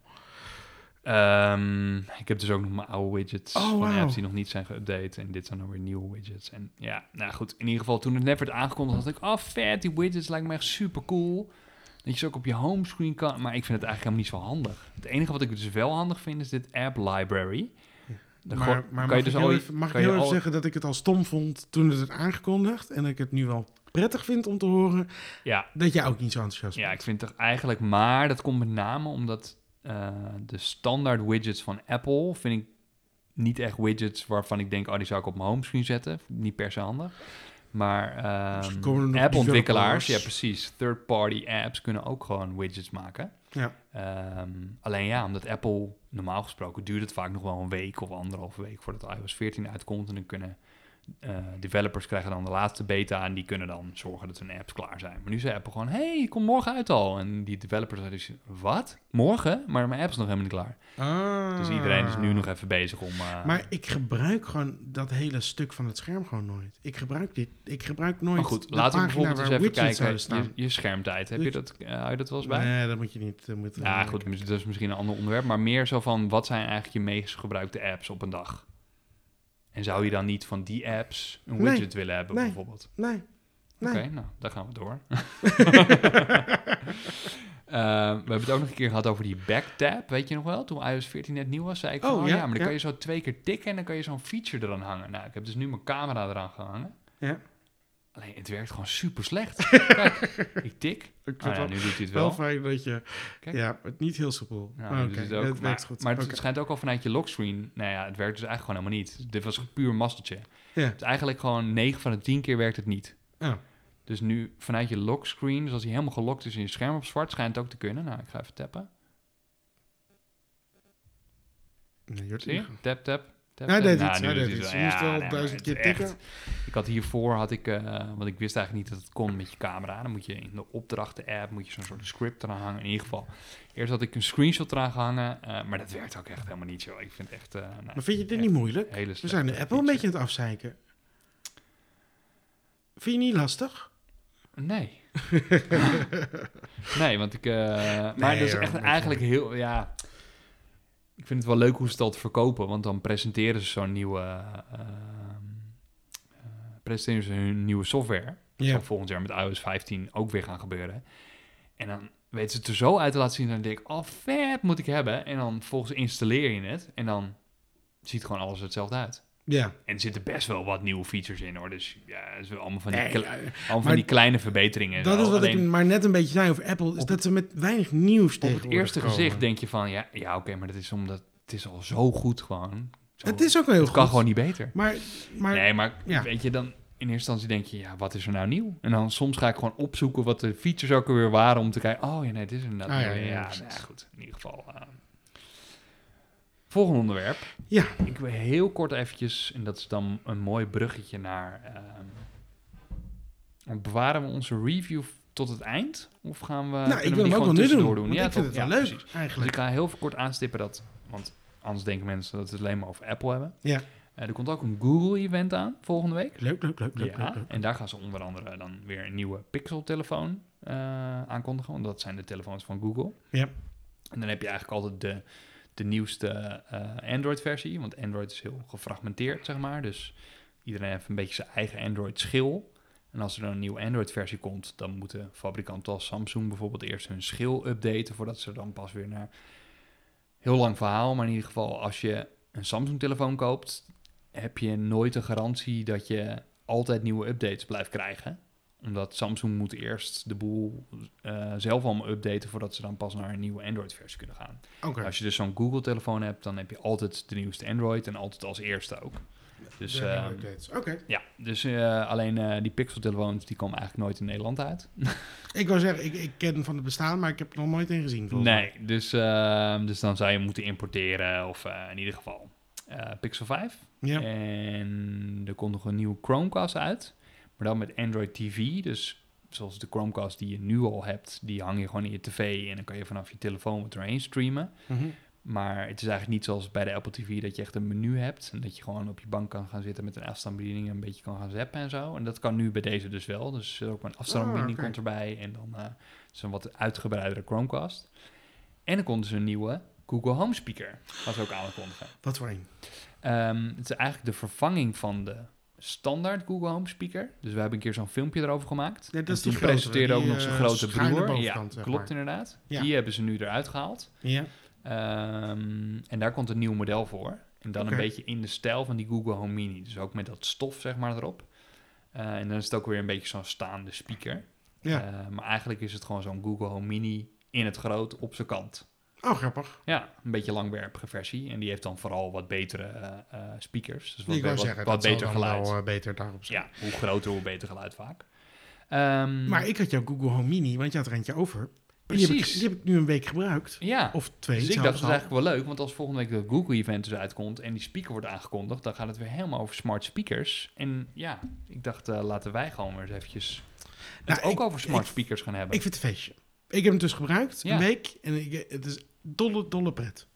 [SPEAKER 1] Ehm, ik heb dus ook nog mijn oude widgets
[SPEAKER 2] Oh,
[SPEAKER 1] van
[SPEAKER 2] wauw.
[SPEAKER 1] apps die nog niet zijn geüpdate. En dit zijn dan weer nieuwe widgets. En ja, nou goed. In ieder geval, toen het net werd aangekondigd, dacht ik... Oh, vet, die widgets lijken me echt super cool. Dat je ze ook op je homescreen kan... Maar ik vind het eigenlijk helemaal niet zo handig. Het enige wat ik dus wel handig vind, is dit app library. Dan
[SPEAKER 2] maar
[SPEAKER 1] go-
[SPEAKER 2] maar mag, ik heel
[SPEAKER 1] je-
[SPEAKER 2] even, mag ik
[SPEAKER 1] kan je
[SPEAKER 2] heel even
[SPEAKER 1] al-
[SPEAKER 2] zeggen dat ik het al stom vond toen het werd aangekondigd. En dat ik het nu wel prettig vind om te horen
[SPEAKER 1] Ja,
[SPEAKER 2] dat jij ook niet zo enthousiast
[SPEAKER 1] Ja, ik
[SPEAKER 2] bent.
[SPEAKER 1] vind toch eigenlijk, maar dat komt met name omdat eh, de standaard widgets van Apple vind ik niet echt widgets waarvan ik denk, oh, die zou ik op mijn homescreen zetten. Niet per se handig. Maar
[SPEAKER 2] Dus er
[SPEAKER 1] ehm
[SPEAKER 2] komen er nog
[SPEAKER 1] app-ontwikkelaars, ja
[SPEAKER 2] developers.
[SPEAKER 1] precies, third-party apps kunnen ook gewoon widgets maken.
[SPEAKER 2] Ja.
[SPEAKER 1] Ehm, alleen ja, omdat Apple normaal gesproken duurt het vaak nog wel een week of anderhalve week voordat iOS 14 uitkomt. En dan kunnen eh, developers krijgen dan de laatste beta en die kunnen dan zorgen dat hun apps klaar zijn. Maar nu zei Apple gewoon, hey, kom morgen uit al. En die developers zeiden dus, wat? Morgen? Maar mijn app is nog helemaal niet klaar.
[SPEAKER 2] Ah.
[SPEAKER 1] Dus iedereen is nu nog even bezig om... eh,
[SPEAKER 2] Maar ik gebruik gewoon dat hele stuk van het scherm gewoon nooit. Ik gebruik dit. Ik gebruik nooit.
[SPEAKER 1] maar goed,
[SPEAKER 2] de
[SPEAKER 1] laten we
[SPEAKER 2] pagina
[SPEAKER 1] bijvoorbeeld eens
[SPEAKER 2] waar
[SPEAKER 1] even
[SPEAKER 2] widgets
[SPEAKER 1] kijken,
[SPEAKER 2] zouden
[SPEAKER 1] je, je schermtijd, heb je dat, eh, hou je dat wel eens bij?
[SPEAKER 2] Nee, dat moet je niet. Dat moet
[SPEAKER 1] Ja, goed, mis- dat is misschien een ander onderwerp, maar meer zo van wat zijn eigenlijk je meest gebruikte apps op een dag? En zou je dan niet van die apps een
[SPEAKER 2] Nee.
[SPEAKER 1] widget willen hebben,
[SPEAKER 2] Nee.
[SPEAKER 1] bijvoorbeeld?
[SPEAKER 2] Nee. Nee.
[SPEAKER 1] Oké, nou, daar gaan we door. Eh, we hebben het ook nog een keer gehad over die backtab, weet je nog wel? Toen iOS 14 net nieuw was, zei ik van,
[SPEAKER 2] Oh,
[SPEAKER 1] oh,
[SPEAKER 2] ja,
[SPEAKER 1] ja, maar dan
[SPEAKER 2] ja.
[SPEAKER 1] kan je zo twee keer tikken en dan kan je zo'n feature eraan hangen. Nou, ik heb dus nu mijn camera eraan gehangen.
[SPEAKER 2] Ja.
[SPEAKER 1] Alleen, het werkt gewoon super slecht. Kijk, ik tik.
[SPEAKER 2] Ik
[SPEAKER 1] Ah,
[SPEAKER 2] vind
[SPEAKER 1] ja,
[SPEAKER 2] het
[SPEAKER 1] nu doet hij het
[SPEAKER 2] wel,
[SPEAKER 1] wel.
[SPEAKER 2] wel fijn dat je.
[SPEAKER 1] Kijk.
[SPEAKER 2] Ja, het niet heel soepel.
[SPEAKER 1] Ja,
[SPEAKER 2] Maar
[SPEAKER 1] dus
[SPEAKER 2] Ah, oké,
[SPEAKER 1] het ook-
[SPEAKER 2] dat
[SPEAKER 1] maar,
[SPEAKER 2] werkt goed.
[SPEAKER 1] Maar het
[SPEAKER 2] Oké.
[SPEAKER 1] schijnt ook al vanuit je lockscreen. Nou ja, het werkt dus eigenlijk gewoon helemaal niet. Dit was puur masteltje.
[SPEAKER 2] Ja.
[SPEAKER 1] Dus eigenlijk gewoon 9 van de 10 keer werkt het niet.
[SPEAKER 2] Ja.
[SPEAKER 1] Dus nu vanuit je lockscreen, dus als hij helemaal gelokt is in je scherm op zwart, schijnt het ook te kunnen. Nou, ik ga even tappen.
[SPEAKER 2] Nee, Jort,
[SPEAKER 1] Zie je?
[SPEAKER 2] ja.
[SPEAKER 1] Tap, tap. tap,
[SPEAKER 2] Hij
[SPEAKER 1] tap.
[SPEAKER 2] deed
[SPEAKER 1] Nou,
[SPEAKER 2] iets,
[SPEAKER 1] nu
[SPEAKER 2] hij
[SPEAKER 1] doet
[SPEAKER 2] deed
[SPEAKER 1] hij
[SPEAKER 2] iets. Je
[SPEAKER 1] het wel.
[SPEAKER 2] moest
[SPEAKER 1] Ja,
[SPEAKER 2] wel
[SPEAKER 1] nee,
[SPEAKER 2] duizend
[SPEAKER 1] maar
[SPEAKER 2] keer
[SPEAKER 1] het is echt-
[SPEAKER 2] tikken.
[SPEAKER 1] Ik had hiervoor, had ik, eh, want ik wist eigenlijk niet dat het kon met je camera. Dan moet je in de opdrachten-app, moet je zo'n soort script eraan hangen. In ieder geval, eerst had ik een screenshot eraan gehangen, eh, maar dat werkt ook echt helemaal niet, joh. Ik vind het echt... eh, nou,
[SPEAKER 2] Maar vind je dit
[SPEAKER 1] echt
[SPEAKER 2] niet moeilijk?
[SPEAKER 1] hele
[SPEAKER 2] We zijn de
[SPEAKER 1] slechte
[SPEAKER 2] Apple een
[SPEAKER 1] feature.
[SPEAKER 2] beetje aan het afzeiken. Vind je niet lastig?
[SPEAKER 1] Nee. nee, want ik. eh, maar dat is
[SPEAKER 2] hoor,
[SPEAKER 1] echt
[SPEAKER 2] dat is
[SPEAKER 1] eigenlijk heel. Ja. Ik vind het wel leuk hoe ze dat verkopen, want dan presenteren ze zo'n nieuwe. ehm, eh, presenteren ze hun nieuwe software. Dat zal volgend jaar met iOS 15 ook weer gaan gebeuren. En dan weten ze het er zo uit te laten zien. Dan denk ik, oh vet, moet ik hebben. En dan volgens installeer je het. En dan ziet gewoon alles er hetzelfde uit.
[SPEAKER 2] Ja.
[SPEAKER 1] En er zitten best wel wat nieuwe features in hoor. Dus ja, het is wel allemaal van die,
[SPEAKER 2] Nee,
[SPEAKER 1] kle-
[SPEAKER 2] ja,
[SPEAKER 1] allemaal
[SPEAKER 2] maar
[SPEAKER 1] van die kleine verbeteringen. en
[SPEAKER 2] Dat
[SPEAKER 1] zo.
[SPEAKER 2] is wat
[SPEAKER 1] Alleen-
[SPEAKER 2] ik maar net een beetje zei over Apple. Is
[SPEAKER 1] Op
[SPEAKER 2] dat ze met weinig nieuws
[SPEAKER 1] op het
[SPEAKER 2] tegenwoordig
[SPEAKER 1] eerste
[SPEAKER 2] komen.
[SPEAKER 1] gezicht denk je van ja, ja oké, maar dat is omdat het is al zo goed gewoon. Zo,
[SPEAKER 2] Het is ook wel heel
[SPEAKER 1] het kan
[SPEAKER 2] goed.
[SPEAKER 1] gewoon niet beter.
[SPEAKER 2] Maar, maar
[SPEAKER 1] nee, maar
[SPEAKER 2] ja.
[SPEAKER 1] weet je, dan in eerste instantie denk je, ja, wat is er nou nieuw? En dan soms ga ik gewoon opzoeken wat de features ook alweer waren om te kijken, oh ja, nee, dit is inderdaad
[SPEAKER 2] Ah, ja,
[SPEAKER 1] nieuw.
[SPEAKER 2] ja,
[SPEAKER 1] Ja,
[SPEAKER 2] ja,
[SPEAKER 1] nou
[SPEAKER 2] precies.
[SPEAKER 1] ja, goed, in ieder geval. eh. volgende onderwerp.
[SPEAKER 2] Ja.
[SPEAKER 1] Ik wil heel kort eventjes, en dat is dan een mooi bruggetje naar... ehm, bewaren we onze review tot het eind? Of gaan we...
[SPEAKER 2] nou, ik
[SPEAKER 1] kunnen
[SPEAKER 2] wil
[SPEAKER 1] we die
[SPEAKER 2] hem ook wel
[SPEAKER 1] gewoon
[SPEAKER 2] nu doen.
[SPEAKER 1] tussendoor
[SPEAKER 2] want
[SPEAKER 1] Ja,
[SPEAKER 2] ik vind
[SPEAKER 1] toch?
[SPEAKER 2] het wel
[SPEAKER 1] Ja,
[SPEAKER 2] leuk
[SPEAKER 1] precies. Dus
[SPEAKER 2] eigenlijk.
[SPEAKER 1] ik ga heel kort aanstippen dat, want anders denken mensen dat we het alleen maar over Apple hebben.
[SPEAKER 2] Ja.
[SPEAKER 1] Eh, er komt ook een Google-event aan volgende week.
[SPEAKER 2] Leuk, leuk, leuk, leuk,
[SPEAKER 1] Ja,
[SPEAKER 2] leuk, leuk.
[SPEAKER 1] en daar gaan ze onder andere dan weer een nieuwe Pixel-telefoon eh, aankondigen, want dat zijn de telefoons van Google.
[SPEAKER 2] Ja.
[SPEAKER 1] En dan heb je eigenlijk altijd de, de nieuwste eh, Android-versie, want Android is heel gefragmenteerd, zeg maar. Dus iedereen heeft een beetje zijn eigen Android-schil. En als er dan een nieuwe Android-versie komt, dan moeten fabrikanten als Samsung bijvoorbeeld eerst hun schil updaten, voordat ze dan pas weer naar... Heel lang verhaal, maar in ieder geval als je een Samsung-telefoon koopt, heb je nooit de garantie dat je altijd nieuwe updates blijft krijgen. Omdat Samsung moet eerst de boel eh, zelf allemaal updaten voordat ze dan pas naar een nieuwe Android-versie kunnen gaan.
[SPEAKER 2] Oké.
[SPEAKER 1] Als je dus zo'n Google-telefoon hebt, dan heb je altijd de nieuwste Android en altijd als eerste ook. Dus,
[SPEAKER 2] Daar gaan we
[SPEAKER 1] ehm,
[SPEAKER 2] updates. Oké.
[SPEAKER 1] Ja, dus eh, alleen eh, die Pixel-telefoons die komen eigenlijk nooit in Nederland uit.
[SPEAKER 2] Ik wou zeggen, ik, ik ken van het bestaan, maar ik heb er nog nooit in gezien. volgens mij.
[SPEAKER 1] Nee, dus, ehm, dus dan zou je moeten importeren of eh, in ieder geval eh, Pixel 5.
[SPEAKER 2] Ja.
[SPEAKER 1] En er komt nog een nieuwe Chromecast uit, maar dan met Android TV. Dus zoals de Chromecast die je nu al hebt, die hang je gewoon in je tv en dan kan je vanaf je telefoon wat erheen streamen.
[SPEAKER 2] Mhm.
[SPEAKER 1] Maar het is eigenlijk niet zoals bij de Apple TV dat je echt een menu hebt en dat je gewoon op je bank kan gaan zitten met een afstandsbediening en een beetje kan gaan zappen en zo. En dat kan nu bij deze dus wel. Dus er zit ook een afstandsbediening
[SPEAKER 2] Ah, oké.
[SPEAKER 1] komt erbij en dan eh, is een wat uitgebreidere Chromecast. En dan komt dus een nieuwe Google Home Speaker, wat ze ook aankondigen.
[SPEAKER 2] Wat voor een?
[SPEAKER 1] Ehm, het is eigenlijk de vervanging van de standaard Google Home Speaker. Dus we hebben een keer zo'n filmpje erover gemaakt.
[SPEAKER 2] Ja, dat
[SPEAKER 1] En
[SPEAKER 2] is die
[SPEAKER 1] toen
[SPEAKER 2] grotere,
[SPEAKER 1] presenteerde ook
[SPEAKER 2] die,
[SPEAKER 1] nog zijn
[SPEAKER 2] eh,
[SPEAKER 1] grote
[SPEAKER 2] schuine
[SPEAKER 1] broer. Ja,
[SPEAKER 2] bovenkant, zeg
[SPEAKER 1] klopt
[SPEAKER 2] maar.
[SPEAKER 1] inderdaad.
[SPEAKER 2] Ja.
[SPEAKER 1] Die hebben ze nu eruit gehaald.
[SPEAKER 2] Ja.
[SPEAKER 1] Ehm, en daar komt een nieuw model voor. En dan
[SPEAKER 2] Oké.
[SPEAKER 1] een beetje in de stijl van die Google Home Mini. Dus ook met dat stof, zeg maar, erop. Eh, en dan is het ook weer een beetje zo'n staande speaker.
[SPEAKER 2] Ja.
[SPEAKER 1] Eh, maar eigenlijk is het gewoon zo'n Google Home Mini in het groot op zijn kant.
[SPEAKER 2] Oh, grappig.
[SPEAKER 1] Ja, een beetje langwerpige versie. En die heeft dan vooral wat betere eh, eh, speakers. Dus wat,
[SPEAKER 2] ik wou
[SPEAKER 1] wat-
[SPEAKER 2] zeggen,
[SPEAKER 1] wat
[SPEAKER 2] dat
[SPEAKER 1] beter
[SPEAKER 2] zal dan
[SPEAKER 1] geluid.
[SPEAKER 2] wel eh, beter daarop zijn.
[SPEAKER 1] ja, hoe groter, hoe beter geluid vaak. Ehm,
[SPEAKER 2] Maar ik had jouw Google Home Mini, want je had er eentje over. En Die heb, ik,
[SPEAKER 1] Precies.
[SPEAKER 2] die heb ik nu een week gebruikt.
[SPEAKER 1] ja.
[SPEAKER 2] Of twee.
[SPEAKER 1] Dus ik dacht,
[SPEAKER 2] zelfs
[SPEAKER 1] dat is
[SPEAKER 2] al.
[SPEAKER 1] eigenlijk wel leuk, want als volgende week dat Google-event dus uitkomt en die speaker wordt aangekondigd, dan gaat het weer helemaal over smart speakers. En ja, ik dacht, eh, laten wij gewoon weer eens eventjes het
[SPEAKER 2] Nou,
[SPEAKER 1] ook
[SPEAKER 2] ik-
[SPEAKER 1] over smart
[SPEAKER 2] ik-
[SPEAKER 1] speakers gaan hebben.
[SPEAKER 2] Ik vind het een feestje. Ik heb hem dus gebruikt,
[SPEAKER 1] Ja.
[SPEAKER 2] een week. En ik, het is dolle, dolle pret.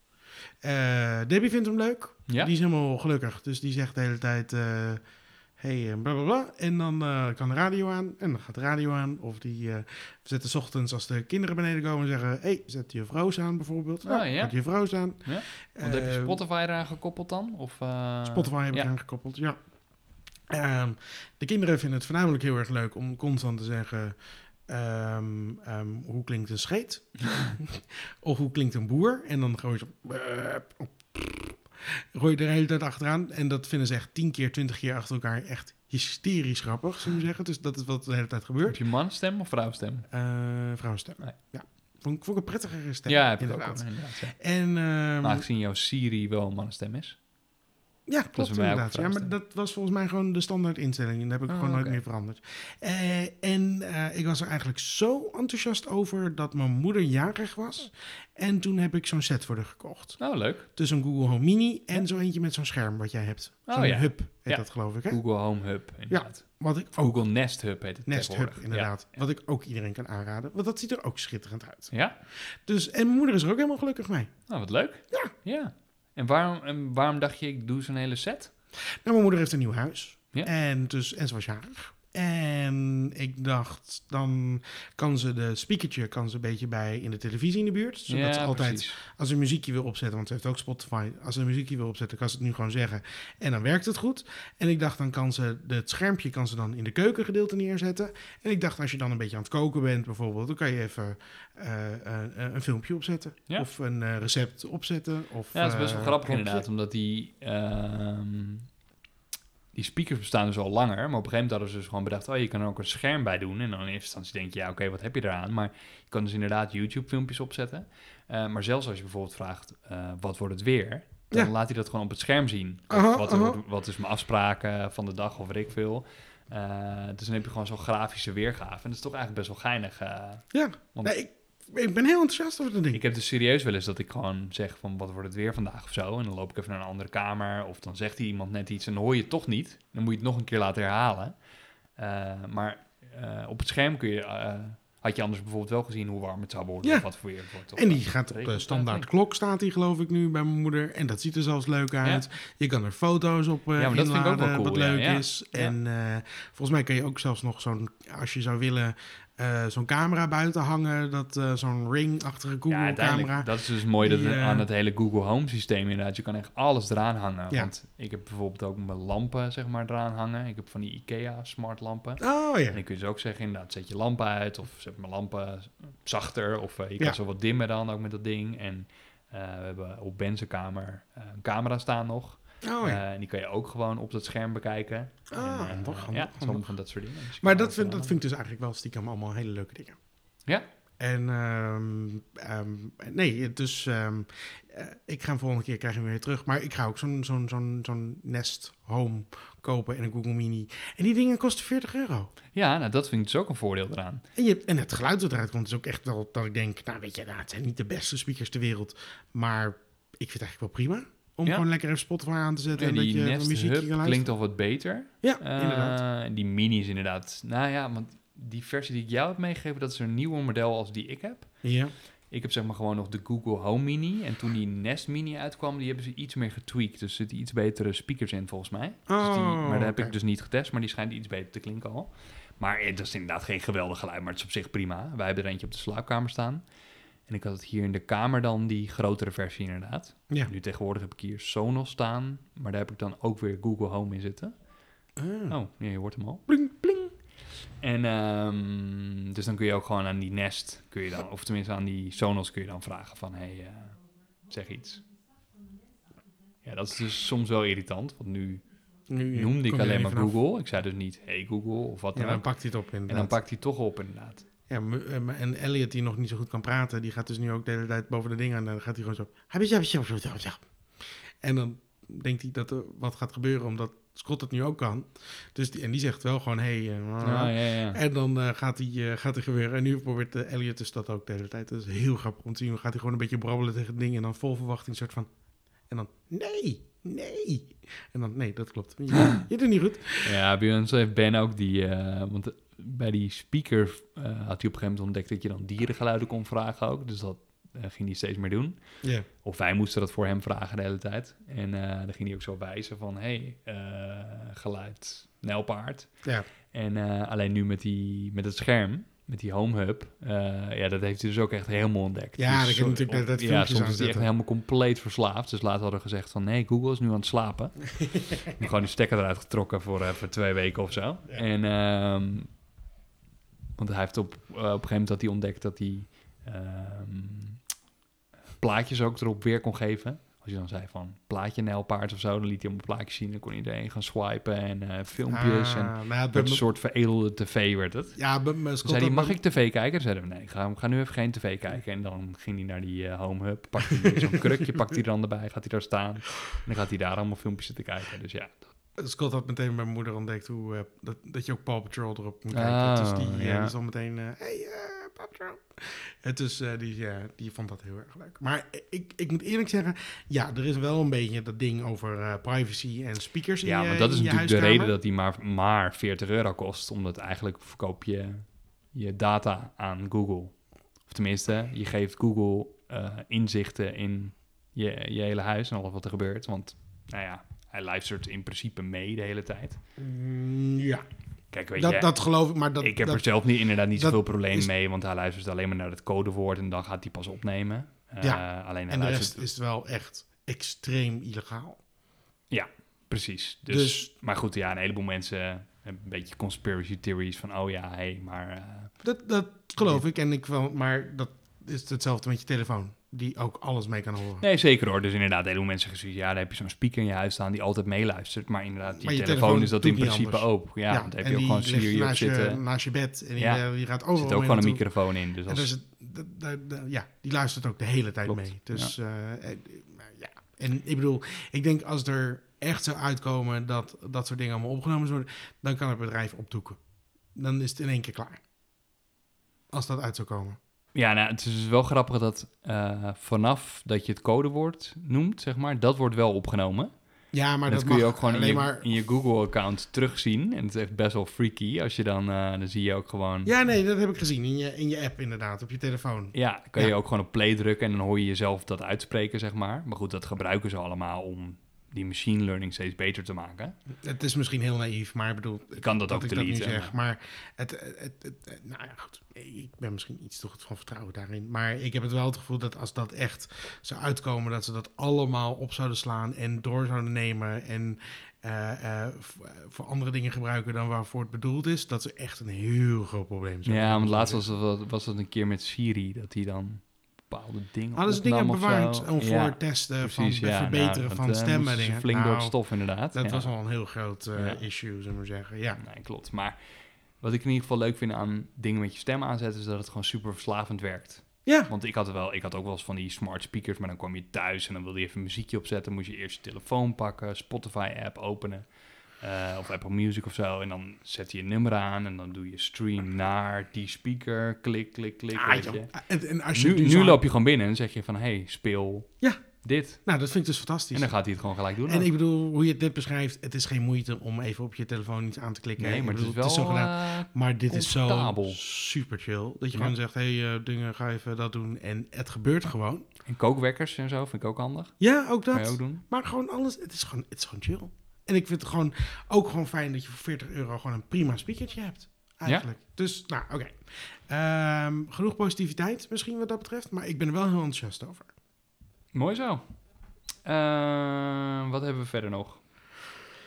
[SPEAKER 2] Eh, Debbie vindt hem leuk.
[SPEAKER 1] ja?
[SPEAKER 2] Die is helemaal gelukkig. Dus die zegt de hele tijd... eh hey, eh, bla bla bla. En dan eh, kan de radio aan. En dan gaat de radio aan. Of die eh zet de ochtends als de kinderen beneden komen... zeggen... hey, zet je Roos aan bijvoorbeeld.
[SPEAKER 1] Oh,
[SPEAKER 2] Nou,
[SPEAKER 1] ja.
[SPEAKER 2] Zet je Roos aan.
[SPEAKER 1] Ja. Want heb je
[SPEAKER 2] Eh,
[SPEAKER 1] Spotify eraan gekoppeld dan? Of, eh,
[SPEAKER 2] Spotify heb ik
[SPEAKER 1] ja.
[SPEAKER 2] aangekoppeld, ja. Ehm, de kinderen vinden het voornamelijk heel erg leuk om constant te zeggen... ehm, ehm, hoe klinkt een scheet? of hoe klinkt een boer? En dan gooi je zo... Gooi je er de hele tijd achteraan. En dat vinden ze echt tien keer, twintig keer achter elkaar echt hysterisch grappig, zullen we zeggen. Dus dat is wat de hele tijd
[SPEAKER 1] Heb
[SPEAKER 2] gebeurt.
[SPEAKER 1] je manstem of vrouwstem?
[SPEAKER 2] Eh vrouwenstem.
[SPEAKER 1] Nee.
[SPEAKER 2] Ja. Vond ik, vond ik een prettigere stem.
[SPEAKER 1] ja, heb ik ook. Nou,
[SPEAKER 2] inderdaad.
[SPEAKER 1] al, inderdaad, ja.
[SPEAKER 2] En, ehm,
[SPEAKER 1] Maar aangezien jouw Siri wel een mannenstem is.
[SPEAKER 2] Ja, klopt
[SPEAKER 1] bij mij ook
[SPEAKER 2] inderdaad. Ja, maar
[SPEAKER 1] gevraagd, hè?
[SPEAKER 2] dat was volgens mij gewoon de standaard instelling. En daar heb ik
[SPEAKER 1] Ah,
[SPEAKER 2] gewoon nooit
[SPEAKER 1] oké.
[SPEAKER 2] meer veranderd. Eh, en eh, ik was er eigenlijk zo enthousiast over dat mijn moeder jarig was. En toen heb ik zo'n set voor haar gekocht.
[SPEAKER 1] Nou, leuk.
[SPEAKER 2] Dus een Google Home Mini en zo eentje met zo'n scherm wat jij hebt.
[SPEAKER 1] Oh,
[SPEAKER 2] Zo'n
[SPEAKER 1] ja.
[SPEAKER 2] hub heet
[SPEAKER 1] Ja.
[SPEAKER 2] dat geloof ik, hè?
[SPEAKER 1] Google Home Hub, inderdaad.
[SPEAKER 2] Wat ik ook...
[SPEAKER 1] Google Nest Hub heet het
[SPEAKER 2] Nest Hub,
[SPEAKER 1] tegenwoordig. Ja.
[SPEAKER 2] inderdaad. Wat ik ook iedereen kan aanraden. Want dat ziet er ook schitterend uit.
[SPEAKER 1] Ja?
[SPEAKER 2] Dus, en mijn moeder is er ook helemaal gelukkig mee.
[SPEAKER 1] Nou, wat leuk. Ja. ja. En, waarom, en waarom dacht je, ik doe zo'n hele set?
[SPEAKER 2] Nou, mijn moeder heeft een nieuw huis.
[SPEAKER 1] Ja.
[SPEAKER 2] En, dus, en ze was jarig. En ik dacht, dan kan ze de speakertje kan ze een beetje bij in de televisie in de buurt. Zodat ze altijd,
[SPEAKER 1] precies.
[SPEAKER 2] als ze een muziekje wil opzetten, want ze heeft ook Spotify. Als ze een muziekje wil opzetten, kan ze het nu gewoon zeggen. En dan werkt het goed. En ik dacht, dan kan ze het schermpje kan ze dan in de keukengedeelte neerzetten. En ik dacht, als je dan een beetje aan het koken bent bijvoorbeeld, dan kan je even eh, eh, eh, een filmpje opzetten.
[SPEAKER 1] Ja.
[SPEAKER 2] Of een eh, recept opzetten. Of,
[SPEAKER 1] Ja, het is best wel
[SPEAKER 2] eh,
[SPEAKER 1] grappig
[SPEAKER 2] een
[SPEAKER 1] inderdaad, omdat die, ehm, die speakers bestaan dus al langer. Maar op een gegeven moment hadden ze dus gewoon bedacht, oh, je kan er ook een scherm bij doen. En dan in eerste instantie denk je, ja, oké, wat heb je eraan? Maar je kan dus inderdaad YouTube-filmpjes opzetten. Eh, maar zelfs als je bijvoorbeeld vraagt, eh, wat wordt het weer? dan
[SPEAKER 2] Ja.
[SPEAKER 1] laat hij dat gewoon op het scherm zien.
[SPEAKER 2] Aha,
[SPEAKER 1] wat,
[SPEAKER 2] aha.
[SPEAKER 1] wat is mijn afspraken van de dag of weet ik veel. Eh, dus dan heb je gewoon zo'n grafische weergave. En dat is toch eigenlijk best wel geinig. eh.
[SPEAKER 2] Ja,
[SPEAKER 1] Want-
[SPEAKER 2] nee, ik, ik ben heel enthousiast over dat ding.
[SPEAKER 1] Ik heb dus serieus wel eens dat ik gewoon zeg van wat wordt het weer vandaag of zo. En dan loop ik even naar een andere kamer. Of dan zegt iemand net iets en dan hoor je het toch niet. Dan moet je het nog een keer laten herhalen. Eh, maar eh, op het scherm kun je, eh, had je anders bijvoorbeeld wel gezien hoe warm het zou worden.
[SPEAKER 2] Ja.
[SPEAKER 1] Of wat voor weer het wordt. Of
[SPEAKER 2] en die
[SPEAKER 1] wat.
[SPEAKER 2] gaat op eh,
[SPEAKER 1] Regent-
[SPEAKER 2] standaard klok, staat die geloof ik nu bij mijn moeder. En dat ziet er zelfs leuk uit. Je kan er foto's op eh
[SPEAKER 1] Ja, maar dat vind ik ook wel
[SPEAKER 2] inladen,
[SPEAKER 1] cool,
[SPEAKER 2] wat
[SPEAKER 1] ja,
[SPEAKER 2] leuk
[SPEAKER 1] ja.
[SPEAKER 2] is.
[SPEAKER 1] Ja.
[SPEAKER 2] En eh, volgens mij kan je ook zelfs nog zo'n, als je zou willen, eh, zo'n camera buiten hangen. Dat, eh, zo'n ring-achtige
[SPEAKER 1] ja, uiteindelijk,
[SPEAKER 2] Google-camera.
[SPEAKER 1] dat is dus mooi dat
[SPEAKER 2] Die,
[SPEAKER 1] het-
[SPEAKER 2] eh,
[SPEAKER 1] aan het hele Google Home systeem inderdaad. Je kan echt alles eraan hangen.
[SPEAKER 2] Ja.
[SPEAKER 1] Want ik heb bijvoorbeeld ook mijn lampen zeg maar eraan hangen. Ik heb van die Ikea smart lampen.
[SPEAKER 2] oh ja.
[SPEAKER 1] En dan kun je dus ook zeggen, inderdaad, zet je lampen uit of zet mijn lampen zachter. Of eh, je kan
[SPEAKER 2] Ja.
[SPEAKER 1] zo wat dimmen dan ook met dat ding. En eh, we hebben op Ben's kamer eh, een camera staan nog.
[SPEAKER 2] Oh, ja.
[SPEAKER 1] Eh, en die kan je ook gewoon op dat scherm bekijken.
[SPEAKER 2] Ah,
[SPEAKER 1] en, eh,
[SPEAKER 2] handig, handig,
[SPEAKER 1] ja, sommige
[SPEAKER 2] handig.
[SPEAKER 1] van dat soort dingen. Dus je
[SPEAKER 2] Maar
[SPEAKER 1] kan
[SPEAKER 2] dat
[SPEAKER 1] ook, eh,
[SPEAKER 2] vind, dat vind ik dus eigenlijk wel stiekem allemaal hele leuke dingen.
[SPEAKER 1] Ja.
[SPEAKER 2] En ehm, ehm, nee, dus ehm, eh, ik ga hem volgende keer krijgen weer terug. Maar ik ga ook zo'n zo'n zo'n zo'n Nest Home kopen en een Google Mini. En die dingen kosten 40 euro.
[SPEAKER 1] Ja, nou, dat vind ik dus ook een voordeel eraan.
[SPEAKER 2] En, je, en het geluid dat eruit komt is ook echt wel dat ik denk... Nou weet je, nou, het zijn niet de beste speakers ter wereld. Maar ik vind het eigenlijk wel prima. Om
[SPEAKER 1] Ja.
[SPEAKER 2] gewoon lekker even Spotify aan te zetten
[SPEAKER 1] En
[SPEAKER 2] en,
[SPEAKER 1] die
[SPEAKER 2] dat je
[SPEAKER 1] Nest
[SPEAKER 2] van muziekje
[SPEAKER 1] Hub
[SPEAKER 2] kan luisteren.
[SPEAKER 1] klinkt al wat beter.
[SPEAKER 2] Ja,
[SPEAKER 1] Eh,
[SPEAKER 2] inderdaad.
[SPEAKER 1] en die minis inderdaad. Nou ja, want die versie die ik jou heb meegegeven, dat is een nieuwer model als die ik heb.
[SPEAKER 2] Ja.
[SPEAKER 1] dus Ik heb zeg maar gewoon nog de Google Home Mini. En toen die Nest Mini uitkwam, die hebben ze iets meer getweakt. Dus er zitten iets betere speakers in volgens mij. dus die, maar
[SPEAKER 2] Oh,
[SPEAKER 1] dat heb
[SPEAKER 2] oké.
[SPEAKER 1] ik dus niet getest, maar die schijnt iets beter te klinken al. Maar eh, dat is inderdaad geen geweldig geluid, maar het is op zich prima. Wij hebben er eentje op de slaapkamer staan. En ik had het hier in de kamer dan, die grotere versie inderdaad.
[SPEAKER 2] Ja.
[SPEAKER 1] Nu tegenwoordig heb ik hier Sonos staan, maar daar heb ik dan ook weer Google Home in zitten.
[SPEAKER 2] Ah.
[SPEAKER 1] Oh, nee, je hoort hem al.
[SPEAKER 2] Pling, pling.
[SPEAKER 1] En ehm, dus dan kun je ook gewoon aan die Nest, kun je dan, of tenminste aan die Sonos kun je dan vragen van, hé, hey, eh, zeg iets. Ja, dat is dus soms wel irritant, want nu
[SPEAKER 2] Nu
[SPEAKER 1] noemde ik
[SPEAKER 2] kom je er
[SPEAKER 1] alleen maar
[SPEAKER 2] even af.
[SPEAKER 1] Google. Ik zei dus niet, hey Google, of wat
[SPEAKER 2] Ja,
[SPEAKER 1] dan
[SPEAKER 2] dan
[SPEAKER 1] ook.
[SPEAKER 2] pakt hij het op inderdaad.
[SPEAKER 1] En dan pakt hij toch op, inderdaad.
[SPEAKER 2] ja, m- eh, maar- en Elliot, die nog niet zo goed kan praten, die gaat dus nu ook de hele tijd boven de dingen en dan gaat hij gewoon zo... "Habis, habis, habis, habis, habis." En dan denkt hij dat er wat gaat gebeuren, omdat Scott het nu ook kan. Dus die, en die zegt wel gewoon, hé... Hey, eh,
[SPEAKER 1] Ah, ja, ja.
[SPEAKER 2] En dan eh, gaat, hij, eh, gaat er gebeuren. En nu probeert eh, Elliot dus dat ook de hele tijd. Dat is heel grappig om te zien. Dan gaat hij gewoon een beetje brabbelen tegen het ding. En dan vol verwachting soort van... En dan, nee, nee. En dan, nee, dat klopt. Je, je doet niet goed.
[SPEAKER 1] Ja, bij ons heeft Ben ook die... eh, want bij die speaker eh, had hij op een gegeven moment ontdekt dat je dan dierengeluiden kon vragen ook. Dus dat eh, ging hij steeds meer doen.
[SPEAKER 2] Ja.
[SPEAKER 1] Of wij moesten dat voor hem vragen de hele tijd. En eh, dan ging hij ook zo wijzen van... hey, eh, geluid, nijlpaard.
[SPEAKER 2] Ja.
[SPEAKER 1] En eh, alleen nu met, die, met het scherm, met die home hub... eh, ja, dat heeft hij dus ook echt helemaal ontdekt.
[SPEAKER 2] Ja,
[SPEAKER 1] dus
[SPEAKER 2] dat kun je natuurlijk net uit
[SPEAKER 1] Ja,
[SPEAKER 2] filmpjes
[SPEAKER 1] soms is hij echt
[SPEAKER 2] aanzetten.
[SPEAKER 1] helemaal compleet verslaafd. Dus later hadden we gezegd van... nee, Google is nu aan het slapen. En gewoon die stekker eruit getrokken voor even twee weken of zo.
[SPEAKER 2] Ja.
[SPEAKER 1] En... ehm, want hij heeft op, eh, op een gegeven moment dat hij ontdekt dat hij... ehm, plaatjes ook erop weer kon geven. Als je dan zei van plaatje nijlpaard of zo, dan liet hij hem een plaatje zien. Dan kon iedereen gaan swipen en eh, filmpjes. en
[SPEAKER 2] Ah, nou ja,
[SPEAKER 1] het
[SPEAKER 2] bij
[SPEAKER 1] werd een
[SPEAKER 2] me-
[SPEAKER 1] soort veredelde tv werd het.
[SPEAKER 2] Ja, bij me- Scott
[SPEAKER 1] Toen zei hij,
[SPEAKER 2] had
[SPEAKER 1] mag
[SPEAKER 2] me-
[SPEAKER 1] ik tv kijken? Toen zeiden we, nee, ga, ga nu even geen tv kijken. En dan ging hij naar die eh, home hub, pakte hij zo'n krukje, pakt hij er dan erbij, gaat hij daar staan. En dan gaat hij daar allemaal filmpjes zitten kijken. Dus ja,
[SPEAKER 2] Scott had meteen bij mijn moeder ontdekt hoe, eh, dat, dat je ook Paw Patrol erop moet kijken.
[SPEAKER 1] Oh,
[SPEAKER 2] dus die eh,
[SPEAKER 1] ja.
[SPEAKER 2] die is al meteen, eh, hey eh, Paw Patrol. En dus eh, die, ja, die vond dat heel erg leuk. Maar ik, ik moet eerlijk zeggen, ja, er is wel een beetje dat ding over eh, privacy en speakers in
[SPEAKER 1] ja
[SPEAKER 2] je
[SPEAKER 1] maar dat is
[SPEAKER 2] in je
[SPEAKER 1] natuurlijk de
[SPEAKER 2] huiskamer.
[SPEAKER 1] reden dat hij maar, maar 40 euro kost. Omdat eigenlijk verkoop je je data aan Google. Of tenminste, je geeft Google eh, inzichten in je, je hele huis en alles wat er gebeurt. Want, nou ja, hij luistert in principe mee de hele tijd.
[SPEAKER 2] Mm, ja,
[SPEAKER 1] Kijk, weet
[SPEAKER 2] dat,
[SPEAKER 1] je,
[SPEAKER 2] dat geloof ik, maar dat...
[SPEAKER 1] ik heb
[SPEAKER 2] dat,
[SPEAKER 1] er zelf niet, inderdaad niet
[SPEAKER 2] dat
[SPEAKER 1] zoveel probleem
[SPEAKER 2] is-
[SPEAKER 1] mee. Want hij luistert alleen maar naar het codewoord en dan gaat hij pas opnemen. Eh,
[SPEAKER 2] Ja,
[SPEAKER 1] alleen hij
[SPEAKER 2] en de
[SPEAKER 1] luistert...
[SPEAKER 2] rest is wel echt extreem illegaal.
[SPEAKER 1] Precies. Dus,
[SPEAKER 2] Dus,
[SPEAKER 1] maar goed, ja, een heleboel mensen hebben een beetje conspiracy theories van... Oh ja, hé, hey, maar... eh,
[SPEAKER 2] dat, dat geloof ik. En ik wel, maar dat is hetzelfde met je telefoon, die ook alles mee kan horen.
[SPEAKER 1] Nee, zeker hoor. Dus inderdaad, heel veel mensen gezien. Ja, dan heb je zo'n speaker in je huis staan die altijd meeluistert. Maar inderdaad, je,
[SPEAKER 2] Maar je
[SPEAKER 1] telefoon,
[SPEAKER 2] telefoon
[SPEAKER 1] is dat
[SPEAKER 2] doet
[SPEAKER 1] in
[SPEAKER 2] niet
[SPEAKER 1] principe
[SPEAKER 2] anders.
[SPEAKER 1] ook. Ja, want dan heb
[SPEAKER 2] en
[SPEAKER 1] je ook
[SPEAKER 2] die
[SPEAKER 1] gewoon
[SPEAKER 2] ligt
[SPEAKER 1] Siri op
[SPEAKER 2] naast je,
[SPEAKER 1] zitten.
[SPEAKER 2] naast je bed en die,
[SPEAKER 1] Ja.
[SPEAKER 2] eh, die gaat
[SPEAKER 1] Er
[SPEAKER 2] overal
[SPEAKER 1] zit ook
[SPEAKER 2] mee
[SPEAKER 1] gewoon een
[SPEAKER 2] naartoe.
[SPEAKER 1] microfoon in. Dus
[SPEAKER 2] En
[SPEAKER 1] als,
[SPEAKER 2] dus het- dat- dat- dat- ja, die luistert ook de hele tijd
[SPEAKER 1] Klopt,
[SPEAKER 2] mee. Dus eh, eh, maar ja, En ik bedoel, ik denk als er echt zou uitkomen dat dat soort dingen allemaal opgenomen worden, dan kan het bedrijf opdoeken. Dan is het in één keer klaar. Als dat uit zou komen.
[SPEAKER 1] Ja, nou, het is dus wel grappig dat eh, vanaf dat je het codewoord noemt, zeg maar, dat wordt wel opgenomen.
[SPEAKER 2] Ja, maar
[SPEAKER 1] dat,
[SPEAKER 2] dat,
[SPEAKER 1] kun je
[SPEAKER 2] mag
[SPEAKER 1] ook gewoon in
[SPEAKER 2] alleen
[SPEAKER 1] je,
[SPEAKER 2] maar.
[SPEAKER 1] in je Google-account terugzien. En het is echt best wel freaky als je dan, eh, dan zie je ook gewoon...
[SPEAKER 2] Ja, nee, dat heb ik gezien in je, in je app inderdaad, op je telefoon.
[SPEAKER 1] Ja, kan
[SPEAKER 2] Ja.
[SPEAKER 1] je ook gewoon op play drukken en dan hoor je jezelf dat uitspreken, zeg maar. Maar goed, dat gebruiken ze allemaal om die machine learning steeds beter te maken.
[SPEAKER 2] Het is misschien heel naïef, maar ik bedoel,
[SPEAKER 1] Je kan dat, ook
[SPEAKER 2] ik dat nu
[SPEAKER 1] deleten.
[SPEAKER 2] zeg. Maar het, het, het- het- nou ja, goed. Ik ben misschien iets te goed van vertrouwen daarin. Maar ik heb het wel het gevoel dat als dat echt zou uitkomen, dat ze dat allemaal op zouden slaan en door zouden nemen. En eh, eh, v- eh, voor andere dingen gebruiken dan waarvoor het bedoeld is. Dat ze echt een heel groot probleem zijn.
[SPEAKER 1] Ja, want laatst was dat, was dat een keer met Siri, dat hij dan bepaalde dingen
[SPEAKER 2] Hadden ze dingen
[SPEAKER 1] opnam of zo.
[SPEAKER 2] bewaard om voor
[SPEAKER 1] Ja,
[SPEAKER 2] testen
[SPEAKER 1] precies,
[SPEAKER 2] van
[SPEAKER 1] ja, nou,
[SPEAKER 2] verbeteren
[SPEAKER 1] want,
[SPEAKER 2] van
[SPEAKER 1] eh, moesten
[SPEAKER 2] stemmen.
[SPEAKER 1] ze
[SPEAKER 2] dingen.
[SPEAKER 1] flink door het
[SPEAKER 2] Nou,
[SPEAKER 1] stof, inderdaad.
[SPEAKER 2] Dat
[SPEAKER 1] ja.
[SPEAKER 2] was al een heel groot eh,
[SPEAKER 1] Ja.
[SPEAKER 2] issue, zullen we maar zeggen. Ja.
[SPEAKER 1] Nee, klopt. Maar wat ik in ieder geval leuk vind aan dingen met je stem aanzetten, is dat het gewoon super verslavend werkt.
[SPEAKER 2] Ja.
[SPEAKER 1] Want ik had er wel, ik had ook wel eens van die smart speakers, maar dan kwam je thuis en dan wilde je even muziekje opzetten. Moest je eerst je telefoon pakken, Spotify-app openen. eh, of Apple Music of zo. En dan zet je je nummer aan en dan doe je stream naar die speaker. Klik, klik, klik.
[SPEAKER 2] Ah,
[SPEAKER 1] weet
[SPEAKER 2] joh.
[SPEAKER 1] je.
[SPEAKER 2] En, en als je dus
[SPEAKER 1] Nu,
[SPEAKER 2] die
[SPEAKER 1] nu
[SPEAKER 2] zou-
[SPEAKER 1] loop je gewoon binnen en zeg je van, hey, speel
[SPEAKER 2] Ja.
[SPEAKER 1] dit.
[SPEAKER 2] Nou, dat vind ik dus fantastisch.
[SPEAKER 1] En dan gaat hij het gewoon gelijk doen.
[SPEAKER 2] En ik bedoel, hoe je het net beschrijft, het is geen moeite om even op je telefoon iets aan te klikken.
[SPEAKER 1] nee,
[SPEAKER 2] Ik
[SPEAKER 1] maar het is
[SPEAKER 2] bedoel,
[SPEAKER 1] wel...
[SPEAKER 2] zo gedaan.
[SPEAKER 1] eh,
[SPEAKER 2] Maar dit is zo
[SPEAKER 1] comfortabel.
[SPEAKER 2] super chill. Dat je
[SPEAKER 1] Ja.
[SPEAKER 2] gewoon zegt, hé hey, eh, dingen, ga even dat doen. En het gebeurt gewoon.
[SPEAKER 1] en eh, kookwekkers en zo vind ik ook handig.
[SPEAKER 2] Ja, ook
[SPEAKER 1] Kan je
[SPEAKER 2] dat.
[SPEAKER 1] ook doen.
[SPEAKER 2] Maar gewoon alles, het is gewoon, het is gewoon chill. En ik vind het gewoon ook gewoon fijn dat je voor 40 euro gewoon een prima speakertje hebt. Eigenlijk. Dus, nou, oké. Ehm, genoeg positiviteit misschien wat dat betreft. Maar ik ben er wel heel enthousiast over.
[SPEAKER 1] Mooi zo. Eh, wat hebben we verder nog?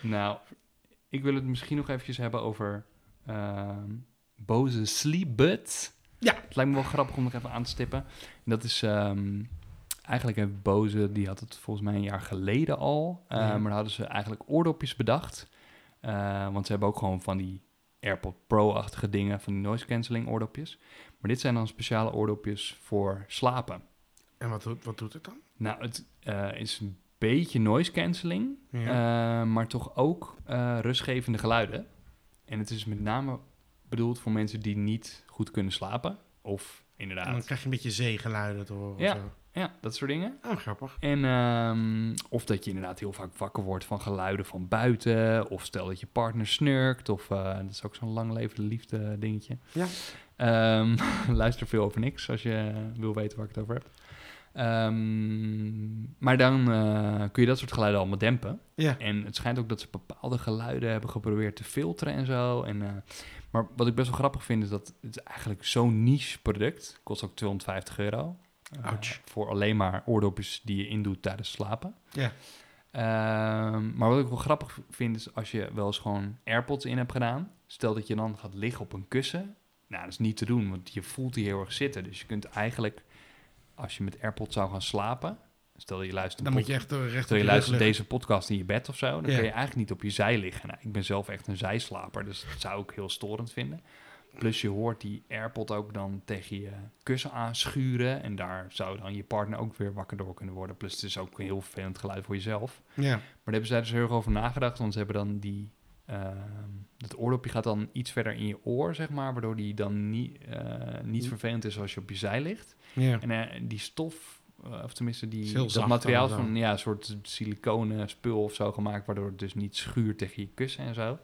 [SPEAKER 1] Nou, ik wil het misschien nog eventjes hebben over ehm, boze sleepbuds.
[SPEAKER 2] Ja.
[SPEAKER 1] Het lijkt me wel grappig om nog even aan te stippen. En dat is ehm, eigenlijk heeft boze, die had het volgens mij een jaar geleden al. eh,
[SPEAKER 2] Ja.
[SPEAKER 1] Maar daar hadden ze eigenlijk oordopjes bedacht. Eh, want ze hebben ook gewoon van die AirPod Pro-achtige dingen, van die noise cancelling oordopjes. Maar dit zijn dan speciale oordopjes voor slapen.
[SPEAKER 2] En wat, doet- wat doet het dan?
[SPEAKER 1] Nou, het eh, is een beetje noise cancelling,
[SPEAKER 2] Ja.
[SPEAKER 1] eh, maar toch ook eh, rustgevende geluiden. En het is met name bedoeld voor mensen die niet goed kunnen slapen. Of
[SPEAKER 2] en dan
[SPEAKER 1] inderdaad,
[SPEAKER 2] krijg je een beetje zeegeluiden te horen.
[SPEAKER 1] Eh, Ja.
[SPEAKER 2] Of zo.
[SPEAKER 1] ja, dat soort dingen.
[SPEAKER 2] Ah, grappig.
[SPEAKER 1] En, ehm, of dat je inderdaad heel vaak wakker wordt van geluiden van buiten. Of stel dat je partner snurkt. Of eh, dat is ook zo'n lang levende liefde dingetje.
[SPEAKER 2] Ja.
[SPEAKER 1] Ehm, luister veel over niks als je wil weten waar ik het over heb. Ehm, maar dan eh, kun je dat soort geluiden allemaal dempen.
[SPEAKER 2] Ja.
[SPEAKER 1] En het schijnt ook dat ze bepaalde geluiden hebben geprobeerd te filteren en zo. En, eh, maar wat ik best wel grappig vind is dat het eigenlijk zo'n niche product kost ook 250 euro. Eh,
[SPEAKER 2] Ouch.
[SPEAKER 1] voor alleen maar oordopjes die je indoet tijdens slapen.
[SPEAKER 2] Ja.
[SPEAKER 1] Ehm, maar wat ik wel grappig vind is als je wel eens gewoon AirPods in hebt gedaan. Stel dat je dan gaat liggen op een kussen. Nou, dat is niet te doen, want je voelt die heel erg zitten. Dus je kunt eigenlijk, als je met AirPods zou gaan slapen. Stel dat je luistert
[SPEAKER 2] Dan
[SPEAKER 1] een
[SPEAKER 2] moet je echt eh, recht
[SPEAKER 1] Stel
[SPEAKER 2] op
[SPEAKER 1] je
[SPEAKER 2] je rug
[SPEAKER 1] luistert
[SPEAKER 2] liggen.
[SPEAKER 1] deze podcast in je bed of zo, dan
[SPEAKER 2] Ja.
[SPEAKER 1] kun je eigenlijk niet op je zij liggen. Nou, ik ben zelf echt een zijslaper, dus dat zou ik heel storend vinden. Plus je hoort die AirPod ook dan tegen je kussen aanschuren. En daar zou dan je partner ook weer wakker door kunnen worden. Plus het is ook een heel vervelend geluid voor jezelf.
[SPEAKER 2] Ja.
[SPEAKER 1] Maar daar hebben zij dus heel erg over nagedacht. Want ze hebben dan die... ehm dat oordopje gaat dan iets verder in je oor, zeg maar. Waardoor die dan niet, eh, niet vervelend is als je op je zij ligt.
[SPEAKER 2] Ja.
[SPEAKER 1] En eh, die stof, eh, of tenminste
[SPEAKER 2] Is
[SPEAKER 1] die,
[SPEAKER 2] heel
[SPEAKER 1] dat
[SPEAKER 2] zacht
[SPEAKER 1] materiaal is
[SPEAKER 2] dan
[SPEAKER 1] van ja, een soort siliconen spul of zo gemaakt, waardoor het dus niet schuurt tegen je kussen en zo.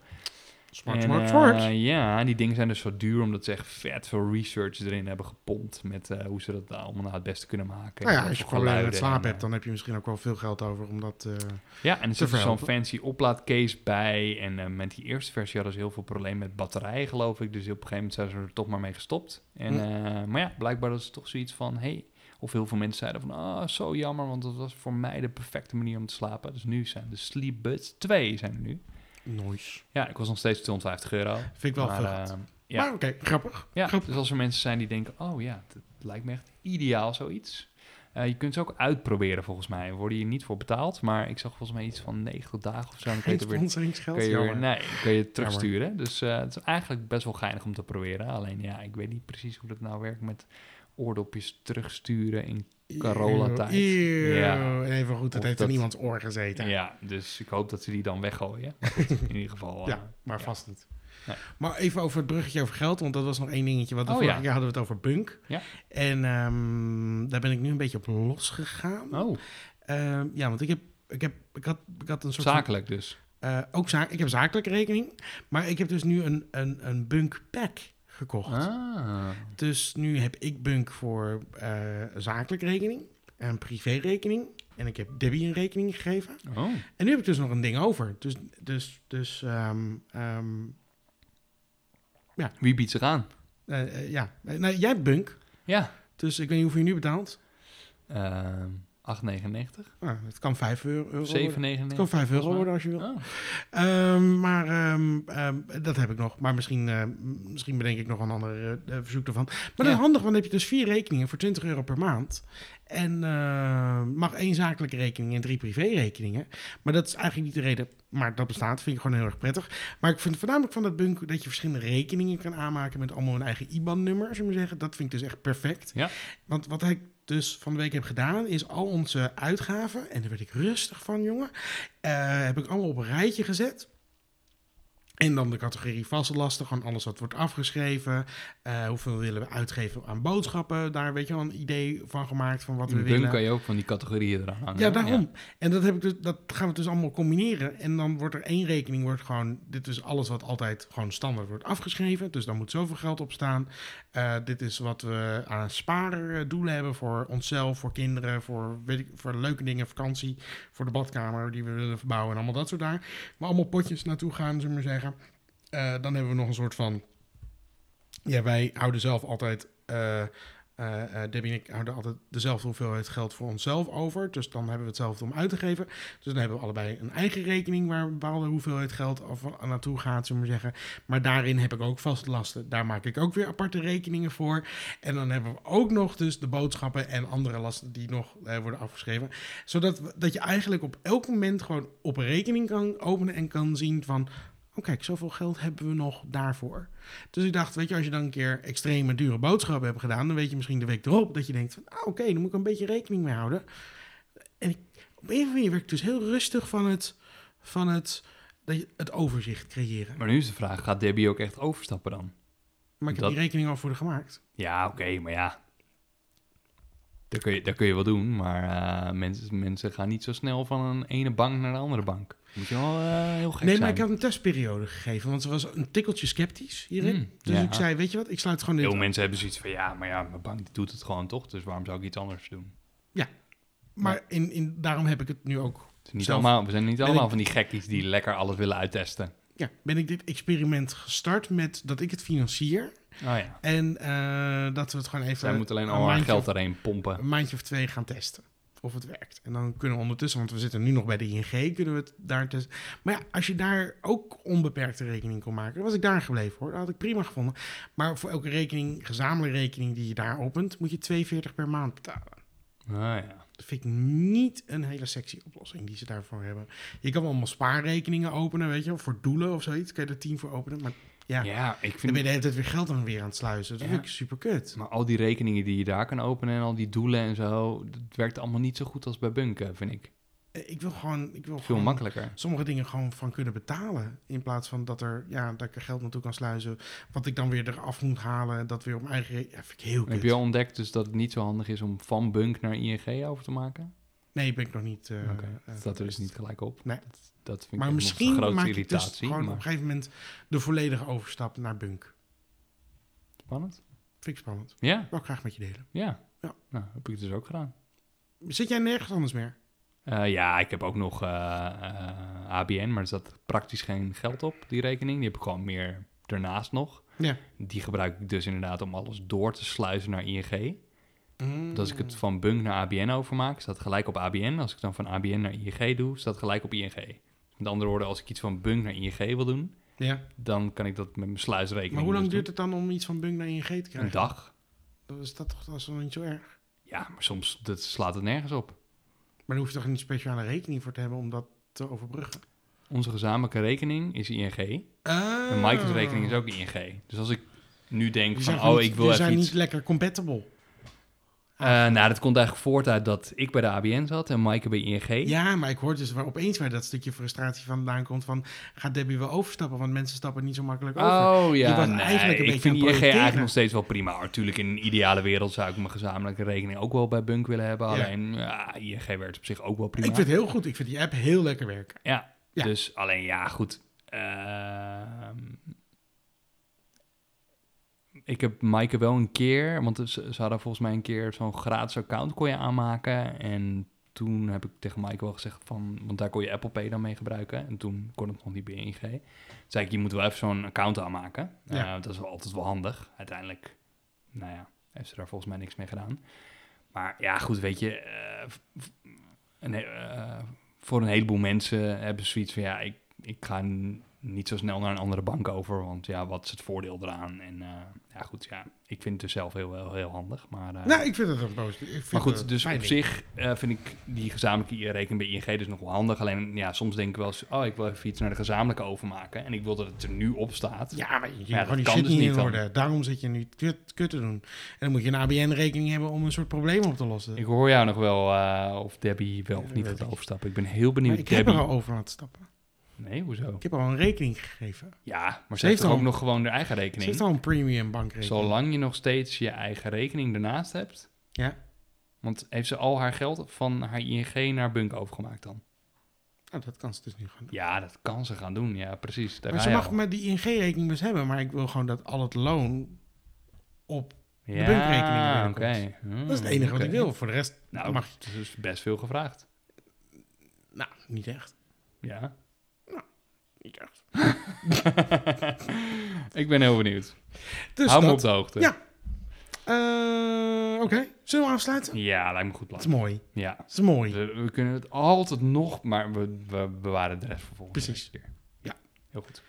[SPEAKER 2] Smart,
[SPEAKER 1] En,
[SPEAKER 2] smart,
[SPEAKER 1] eh,
[SPEAKER 2] smart.
[SPEAKER 1] ja, en die dingen zijn dus zo duur, omdat ze echt vet veel research erin hebben gepompt met eh, hoe ze dat allemaal naar het beste kunnen maken.
[SPEAKER 2] nou
[SPEAKER 1] En
[SPEAKER 2] ja, als je
[SPEAKER 1] voor
[SPEAKER 2] problemen met
[SPEAKER 1] geluiden
[SPEAKER 2] slapen
[SPEAKER 1] en, eh,
[SPEAKER 2] hebt, dan heb je misschien ook wel veel geld over. Omdat, eh,
[SPEAKER 1] ja, en er
[SPEAKER 2] Te
[SPEAKER 1] zit dus zo'n
[SPEAKER 2] verhelpen.
[SPEAKER 1] fancy oplaadcase bij. En eh, met die eerste versie hadden ze heel veel problemen met batterijen, geloof ik. Dus op een gegeven moment zijn ze er toch maar mee gestopt. En,
[SPEAKER 2] Hm.
[SPEAKER 1] eh, maar ja, blijkbaar was het toch zoiets van... Hey, of heel veel mensen zeiden van... Ah, zo jammer, want dat was voor mij de perfecte manier om te slapen. Dus nu zijn de Sleepbuds 2 zijn er nu.
[SPEAKER 2] noise.
[SPEAKER 1] Ja, ik was nog steeds 250 euro.
[SPEAKER 2] Vind ik wel
[SPEAKER 1] Maar,
[SPEAKER 2] veel
[SPEAKER 1] eh,
[SPEAKER 2] geld.
[SPEAKER 1] ja.
[SPEAKER 2] Maar oké, grappig.
[SPEAKER 1] ja,
[SPEAKER 2] Grappig.
[SPEAKER 1] dus als er mensen zijn die denken... Oh ja, het lijkt me echt ideaal zoiets... Eh, je kunt ze ook uitproberen volgens mij. Er Worden hier niet voor betaald, maar ik zag volgens mij iets van 90 dagen of zo. en Dan kun je
[SPEAKER 2] Geen
[SPEAKER 1] het er weer
[SPEAKER 2] sponsoringsgeld.
[SPEAKER 1] kun je, weer-
[SPEAKER 2] jammer.
[SPEAKER 1] nee, kun je het terugsturen. Dus eh, het is eigenlijk best wel geinig om te proberen. Alleen ja, ik weet niet precies hoe dat nou werkt met oordopjes terugsturen in Corolla-tijd.
[SPEAKER 2] Eeuw.
[SPEAKER 1] Ja.
[SPEAKER 2] Even goed, dat
[SPEAKER 1] Of
[SPEAKER 2] heeft
[SPEAKER 1] dat-
[SPEAKER 2] in iemands oor gezeten.
[SPEAKER 1] Ja, dus ik hoop dat ze die dan weggooien. Maar goed, in ieder geval. eh,
[SPEAKER 2] Ja, maar vast niet.
[SPEAKER 1] Nee.
[SPEAKER 2] Maar even over het bruggetje over geld, want dat was nog één dingetje. Want de
[SPEAKER 1] Oh,
[SPEAKER 2] vorige
[SPEAKER 1] ja.
[SPEAKER 2] keer hadden we het over punk.
[SPEAKER 1] Ja.
[SPEAKER 2] En ehm, daar ben ik nu een beetje op losgegaan.
[SPEAKER 1] Oh,
[SPEAKER 2] Ehm, ja, want ik heb, ik heb ik had, ik had een soort van-
[SPEAKER 1] zakelijk dus.
[SPEAKER 2] eh, ook zaak, ik heb zakelijke rekening, maar ik heb dus nu een, een, een bunk pack gekocht.
[SPEAKER 1] Ah.
[SPEAKER 2] Dus nu heb ik bunk voor eh zakelijke rekening, een privérekening en ik heb Debbie een rekening gegeven.
[SPEAKER 1] Oh.
[SPEAKER 2] En nu heb ik dus nog een ding over. Dus, dus, dus ehm, ehm,
[SPEAKER 1] Wie biedt zich aan?
[SPEAKER 2] eh, eh, ja. Eh, Nou, jij hebt bunk,
[SPEAKER 1] Ja.
[SPEAKER 2] dus ik weet niet hoeveel je nu betaalt.
[SPEAKER 1] Ehm 8,99.
[SPEAKER 2] Nou, het kan 5 euro worden.
[SPEAKER 1] 7,99.
[SPEAKER 2] Het kan 5 euro worden als je wil.
[SPEAKER 1] Oh.
[SPEAKER 2] Ehm, maar ehm, ehm, dat heb ik nog. Maar misschien, eh, m- misschien bedenk ik nog een ander eh, eh, verzoek ervan. Maar dat is
[SPEAKER 1] Ja.
[SPEAKER 2] handig, want dan heb je dus vier rekeningen voor 20 euro per maand. En eh, mag één zakelijke rekening en drie privérekeningen. Maar dat is eigenlijk niet de reden. Maar dat bestaat, vind ik gewoon heel erg prettig. Maar ik vind voornamelijk van dat bunk dat je verschillende rekeningen kan aanmaken met allemaal een eigen IBAN-nummer, zullen we zeggen. Dat vind ik dus echt perfect.
[SPEAKER 1] Ja.
[SPEAKER 2] Want wat ik dus van de week heb gedaan, is al onze uitgaven, en daar werd ik rustig van, jongen, eh, heb ik allemaal op een rijtje gezet. En dan de categorie vaste lasten, gewoon alles wat wordt afgeschreven. Eh, hoeveel willen we uitgeven aan boodschappen? Daar weet je wel een idee van gemaakt van wat
[SPEAKER 1] In
[SPEAKER 2] we
[SPEAKER 1] de bun
[SPEAKER 2] willen.
[SPEAKER 1] kan je ook van die categorieën eraan hangen.
[SPEAKER 2] Ja,
[SPEAKER 1] hè?
[SPEAKER 2] daarom. En dat, heb ik dus, dat gaan we dus allemaal combineren. En dan wordt er één rekening, wordt gewoon, dit is alles wat altijd gewoon standaard wordt afgeschreven. Dus daar moet zoveel geld op staan. Eh, dit is wat we aan spaardoelen hebben voor onszelf, voor kinderen, voor, weet ik, voor leuke dingen, vakantie, voor de badkamer die we willen verbouwen en allemaal dat soort daar. Maar allemaal potjes naartoe gaan, zullen we maar zeggen. Eh, dan hebben we nog een soort van, ja, wij houden zelf altijd... eh, eh eh, Debbie en ik houden altijd dezelfde hoeveelheid geld voor onszelf over. Dus dan hebben we hetzelfde om uit te geven. Dus dan hebben we allebei een eigen rekening waar een bepaalde hoeveelheid geld af, naartoe gaat, zullen we maar zeggen. Maar daarin heb ik ook vaste lasten. Daar maak ik ook weer aparte rekeningen voor. En dan hebben we ook nog dus de boodschappen en andere lasten die nog eh, worden afgeschreven. Zodat we- dat je eigenlijk op elk moment gewoon op een rekening kan openen en kan zien van... Oh kijk, zoveel geld hebben we nog daarvoor. Dus ik dacht, weet je, als je dan een keer extreme dure boodschappen hebt gedaan, dan weet je misschien de week erop dat je denkt van, ah, oké, dan moet ik een beetje rekening mee houden. En ik, op een of andere manier werd ik dus heel rustig van het, van het, dat je- het overzicht creëren.
[SPEAKER 1] Maar nu is de vraag, gaat Debbie ook echt overstappen dan?
[SPEAKER 2] Maar ik heb
[SPEAKER 1] Dat-
[SPEAKER 2] die rekening al voor haar gemaakt.
[SPEAKER 1] Ja, oké, maar ja. Dat kun, je, dat kun je wel doen, maar eh, mensen, mensen gaan niet zo snel van een ene bank naar de andere bank. Moet je wel eh, heel gek
[SPEAKER 2] nee, maar
[SPEAKER 1] zijn.
[SPEAKER 2] ik had een testperiode gegeven, want ze was een tikkeltje sceptisch hierin.
[SPEAKER 1] Mm,
[SPEAKER 2] dus
[SPEAKER 1] ja.
[SPEAKER 2] ik zei, weet je wat, ik sluit gewoon dit
[SPEAKER 1] Heel mensen hebben zoiets van, ja, maar ja, mijn bank die doet het gewoon toch, dus waarom zou ik iets anders doen?
[SPEAKER 2] Maar in, in, daarom heb ik het nu ook
[SPEAKER 1] Het is niet
[SPEAKER 2] Zelf-
[SPEAKER 1] allemaal, we zijn niet
[SPEAKER 2] Ben
[SPEAKER 1] allemaal
[SPEAKER 2] ik-
[SPEAKER 1] van die gekkies die lekker alles willen uittesten.
[SPEAKER 2] ja, ben ik dit experiment gestart met dat ik het financier.
[SPEAKER 1] Oh ja.
[SPEAKER 2] En eh, dat we het gewoon even
[SPEAKER 1] Zij moeten alleen
[SPEAKER 2] een
[SPEAKER 1] al haar
[SPEAKER 2] maandje
[SPEAKER 1] geld erheen pompen.
[SPEAKER 2] een maandje of twee gaan testen of het werkt. En dan kunnen we ondertussen, want we zitten nu nog bij de ING, kunnen we het daar testen. Maar ja, als je daar ook onbeperkte rekening kon maken, dan was ik daar gebleven hoor. Dat had ik prima gevonden. Maar voor elke rekening, gezamenlijke rekening die je daar opent, moet je 42 per maand betalen.
[SPEAKER 1] Oh ja.
[SPEAKER 2] Dat vind ik niet een hele sexy oplossing die ze daarvoor hebben. Je kan wel allemaal spaarrekeningen openen, weet je wel, voor doelen of zoiets. Kun je er 10 voor openen, maar ja,
[SPEAKER 1] Ja. ik
[SPEAKER 2] dan ben je
[SPEAKER 1] vind...
[SPEAKER 2] de hele tijd weer geld aan weer aan het sluizen. Dat
[SPEAKER 1] Ja.
[SPEAKER 2] vind ik super kut.
[SPEAKER 1] Maar al die rekeningen die je daar kan openen en al die doelen en zo, dat werkt allemaal niet zo goed als bij bunken, vind ik.
[SPEAKER 2] Ik wil gewoon... Ik wil
[SPEAKER 1] Veel
[SPEAKER 2] gewoon,
[SPEAKER 1] makkelijker.
[SPEAKER 2] sommige dingen gewoon van kunnen betalen. In plaats van dat, er, ja, dat ik er geld naartoe kan sluizen. Wat ik dan weer eraf moet halen. en Dat weer op mijn eigen rekening. Ja, vind ik heel
[SPEAKER 1] Heb je
[SPEAKER 2] kut.
[SPEAKER 1] al ontdekt dus dat het niet zo handig is om van Bunk naar ING over te maken?
[SPEAKER 2] Nee, ben ik nog niet. eh
[SPEAKER 1] Oké,
[SPEAKER 2] eh,
[SPEAKER 1] dat staat er dus niet gelijk op.
[SPEAKER 2] Nee.
[SPEAKER 1] Dat, dat vind
[SPEAKER 2] Maar
[SPEAKER 1] ik
[SPEAKER 2] misschien
[SPEAKER 1] nog een grote
[SPEAKER 2] maak ik dus
[SPEAKER 1] irritatie.
[SPEAKER 2] gewoon op
[SPEAKER 1] maar
[SPEAKER 2] een gegeven moment de volledige overstap naar bunk.
[SPEAKER 1] spannend.
[SPEAKER 2] Vind ik spannend.
[SPEAKER 1] Ja,
[SPEAKER 2] Wou ik graag met je delen.
[SPEAKER 1] ja.
[SPEAKER 2] Ja.
[SPEAKER 1] Nou, heb ik het dus ook gedaan.
[SPEAKER 2] Zit jij nergens anders meer?
[SPEAKER 1] Eh, ja, ik heb ook nog eh, eh, ABN, maar er zat praktisch geen geld op, die rekening. Die heb ik gewoon meer daarnaast nog.
[SPEAKER 2] Ja.
[SPEAKER 1] Die gebruik ik dus inderdaad om alles door te sluizen naar ING. Want als ik het van Bunk naar ABN overmaak, staat het gelijk op ABN. Als ik dan van ABN naar ING doe, staat het gelijk op ING. Met andere woorden, als ik iets van Bunk naar ING wil doen,
[SPEAKER 2] Ja.
[SPEAKER 1] dan kan ik dat met mijn sluisrekening
[SPEAKER 2] Maar hoe lang
[SPEAKER 1] dus
[SPEAKER 2] duurt
[SPEAKER 1] doen.
[SPEAKER 2] het dan om iets van bunk naar ING te krijgen?
[SPEAKER 1] Een dag.
[SPEAKER 2] Dan is dat toch dat is toch niet zo erg?
[SPEAKER 1] Ja, maar soms dat slaat het nergens op.
[SPEAKER 2] Maar daar hoef je toch geen speciale rekening voor te hebben om dat te overbruggen?
[SPEAKER 1] Onze gezamenlijke rekening is ING. En
[SPEAKER 2] Ah.
[SPEAKER 1] Mike's rekening is ook ING. Dus als ik nu denk
[SPEAKER 2] Die
[SPEAKER 1] van,
[SPEAKER 2] zijn
[SPEAKER 1] oh,
[SPEAKER 2] niet-
[SPEAKER 1] ik wil
[SPEAKER 2] die
[SPEAKER 1] even
[SPEAKER 2] zijn
[SPEAKER 1] iets...
[SPEAKER 2] niet lekker compatible.
[SPEAKER 1] Eh, nou, dat komt eigenlijk voort uit dat ik bij de ABN zat en Maaike bij ING.
[SPEAKER 2] Ja, maar ik hoor dus waar opeens waar dat stukje frustratie vandaan komt van... gaat Debbie wel overstappen? Want mensen stappen niet zo makkelijk over.
[SPEAKER 1] Oh ja,
[SPEAKER 2] Je was
[SPEAKER 1] nee,
[SPEAKER 2] eigenlijk een
[SPEAKER 1] ik
[SPEAKER 2] beetje
[SPEAKER 1] vind
[SPEAKER 2] aan
[SPEAKER 1] ING
[SPEAKER 2] het
[SPEAKER 1] eigenlijk
[SPEAKER 2] projecteren.
[SPEAKER 1] nog steeds wel prima. hoor. Tuurlijk, in een ideale wereld zou ik mijn gezamenlijke rekening ook wel bij Bunk willen hebben.
[SPEAKER 2] Ja.
[SPEAKER 1] Alleen, ja, ING werd op zich ook wel prima.
[SPEAKER 2] Ik vind het heel goed. Ik vind die app heel lekker werken.
[SPEAKER 1] Ja,
[SPEAKER 2] Ja.
[SPEAKER 1] dus alleen ja, goed. Ehm, ik heb Maaike wel een keer, want ze, ze hadden volgens mij een keer zo'n gratis account kon je aanmaken. En toen heb ik tegen Maaike wel gezegd van, want daar kon je Apple Pay dan mee gebruiken. En toen kon het nog niet bij ING. Toen zei ik, je moet wel even zo'n account aanmaken.
[SPEAKER 2] Ja.
[SPEAKER 1] Eh, dat is wel altijd wel handig. Uiteindelijk, nou ja, heeft ze daar volgens mij niks mee gedaan. Maar ja, goed, weet je, eh, v- v- een he- eh, voor een heleboel mensen hebben ze zoiets van ja, ik, ik ga n- niet zo snel naar een andere bank over, want ja, wat is het voordeel eraan? En eh, ja, goed, ja, ik vind het dus zelf heel, heel, heel handig. Maar, eh,
[SPEAKER 2] Nou, ik vind het een positief. ik vind
[SPEAKER 1] maar
[SPEAKER 2] het
[SPEAKER 1] goed,
[SPEAKER 2] een
[SPEAKER 1] dus
[SPEAKER 2] fijn
[SPEAKER 1] op
[SPEAKER 2] ding.
[SPEAKER 1] zich eh, vind ik die gezamenlijke rekening bij ING dus nog wel handig. Alleen ja, soms denk ik wel eens, oh, ik wil even iets naar de gezamenlijke overmaken en ik wil dat het er nu op staat.
[SPEAKER 2] Ja, maar je
[SPEAKER 1] Ja, dat
[SPEAKER 2] kan die
[SPEAKER 1] kan
[SPEAKER 2] shit
[SPEAKER 1] dus
[SPEAKER 2] niet
[SPEAKER 1] niet
[SPEAKER 2] in
[SPEAKER 1] dan.
[SPEAKER 2] orde. Daarom zit je nu kut, kut te doen. En dan moet je een ABN-rekening hebben om een soort probleem op te lossen.
[SPEAKER 1] Ik hoor jou nog wel eh, of Debbie wel of
[SPEAKER 2] Ja,
[SPEAKER 1] niet
[SPEAKER 2] weet
[SPEAKER 1] gaat
[SPEAKER 2] ik.
[SPEAKER 1] overstappen. Ik ben heel
[SPEAKER 2] Maar
[SPEAKER 1] benieuwd,
[SPEAKER 2] ik heb
[SPEAKER 1] Debbie.
[SPEAKER 2] er al over laten stappen.
[SPEAKER 1] Nee, hoezo?
[SPEAKER 2] Ik heb al een rekening gegeven.
[SPEAKER 1] Ja, maar ze,
[SPEAKER 2] Ze
[SPEAKER 1] heeft
[SPEAKER 2] heeft
[SPEAKER 1] toch
[SPEAKER 2] al-
[SPEAKER 1] ook nog gewoon haar eigen
[SPEAKER 2] Er
[SPEAKER 1] rekening.
[SPEAKER 2] zit al een premium bankrekening.
[SPEAKER 1] Zolang je nog steeds je eigen rekening ernaast hebt.
[SPEAKER 2] Ja.
[SPEAKER 1] Want heeft ze al haar geld van haar ING naar Bunk overgemaakt dan?
[SPEAKER 2] Nou, dat kan ze dus niet gaan doen.
[SPEAKER 1] Ja, dat kan ze gaan doen. Ja, precies. Daar
[SPEAKER 2] Maar
[SPEAKER 1] ga
[SPEAKER 2] ze
[SPEAKER 1] je
[SPEAKER 2] mag
[SPEAKER 1] al.
[SPEAKER 2] maar die ING-rekening best dus hebben. Maar ik wil gewoon dat al het loon op...
[SPEAKER 1] ja,
[SPEAKER 2] Bunk-rekening weer
[SPEAKER 1] oké. Hmm,
[SPEAKER 2] komt. Dat is het enige wat ik
[SPEAKER 1] Mm, oké.
[SPEAKER 2] wil. Voor de rest
[SPEAKER 1] Nou,
[SPEAKER 2] mag
[SPEAKER 1] dat is best veel gevraagd.
[SPEAKER 2] Nou, niet echt.
[SPEAKER 1] Ja.
[SPEAKER 2] Niet echt.
[SPEAKER 1] ik ben heel benieuwd.
[SPEAKER 2] Dus
[SPEAKER 1] Hou me op
[SPEAKER 2] dat.
[SPEAKER 1] de hoogte.
[SPEAKER 2] Ja. Eh, Oké, zullen we afsluiten?
[SPEAKER 1] Ja, lijkt me een goed plan.
[SPEAKER 2] Het is mooi.
[SPEAKER 1] Ja.
[SPEAKER 2] Het is mooi.
[SPEAKER 1] We, we kunnen het altijd nog, maar we, we bewaren de rest voor volgende
[SPEAKER 2] Precies.
[SPEAKER 1] keer.
[SPEAKER 2] Ja.
[SPEAKER 1] Heel goed.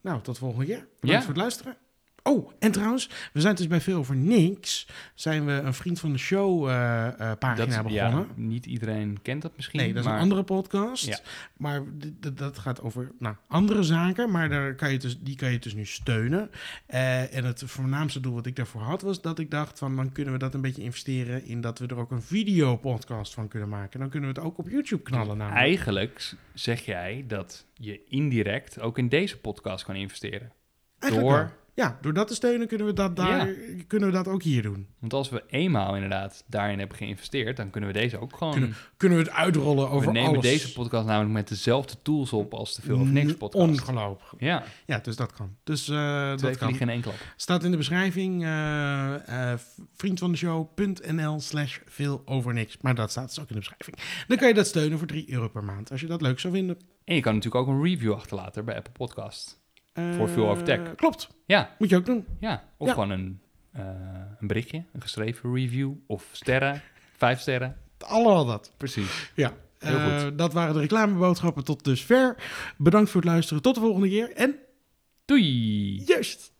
[SPEAKER 2] Nou, tot volgende keer. Bedankt
[SPEAKER 1] Ja.
[SPEAKER 2] voor het luisteren. Oh, en trouwens, we zijn dus bij Veel Over Niks... zijn we een Vriend van de Show eh, eh, pagina
[SPEAKER 1] ja,
[SPEAKER 2] begonnen.
[SPEAKER 1] niet iedereen kent dat misschien.
[SPEAKER 2] Nee, dat is
[SPEAKER 1] maar...
[SPEAKER 2] een andere podcast.
[SPEAKER 1] Ja.
[SPEAKER 2] Maar d- d- dat gaat over nou, andere zaken. Maar daar kan je dus, die kan je dus nu steunen. Eh, en het voornaamste doel wat ik daarvoor had, was dat ik dacht van dan kunnen we dat een beetje investeren in dat we er ook een videopodcast van kunnen maken. Dan kunnen we het ook op YouTube knallen namelijk.
[SPEAKER 1] Eigenlijk s- zeg jij dat je indirect ook in deze podcast kan investeren.
[SPEAKER 2] Eigenlijk
[SPEAKER 1] door-
[SPEAKER 2] wel. Ja, door dat te steunen kunnen we dat, daar, kunnen we dat ook hier doen.
[SPEAKER 1] Want als we eenmaal inderdaad daarin hebben geïnvesteerd, dan kunnen we deze ook gewoon.
[SPEAKER 2] Kunnen Kunnen we het uitrollen over
[SPEAKER 1] we nemen
[SPEAKER 2] alles.
[SPEAKER 1] deze podcast namelijk met dezelfde tools op als de Veel of Niks podcast.
[SPEAKER 2] Ongelooflijk.
[SPEAKER 1] ja,
[SPEAKER 2] Ja, dus dat kan. Dus eh,
[SPEAKER 1] twee
[SPEAKER 2] dat kan.
[SPEAKER 1] vliegen in één klap.
[SPEAKER 2] Staat in de beschrijving eh eh vriendvandeshow.nl slash veel over niks. Maar dat staat dus ook in de beschrijving. Dan kan je dat steunen voor 3 euro per maand. Als je dat leuk zou vinden.
[SPEAKER 1] En je kan natuurlijk ook een review achterlaten bij Apple Podcast.
[SPEAKER 2] Eh,
[SPEAKER 1] Voor Veel Over Tech.
[SPEAKER 2] Klopt.
[SPEAKER 1] Ja.
[SPEAKER 2] Moet je ook doen.
[SPEAKER 1] Ja, of
[SPEAKER 2] Ja.
[SPEAKER 1] gewoon een, eh, een berichtje, een geschreven review of sterren, vijf sterren.
[SPEAKER 2] Allemaal dat.
[SPEAKER 1] Precies.
[SPEAKER 2] Ja.
[SPEAKER 1] Heel
[SPEAKER 2] Eh, dat waren de reclameboodschappen tot dusver. Bedankt voor het luisteren. Tot de volgende keer. En
[SPEAKER 1] Doei!
[SPEAKER 2] juist.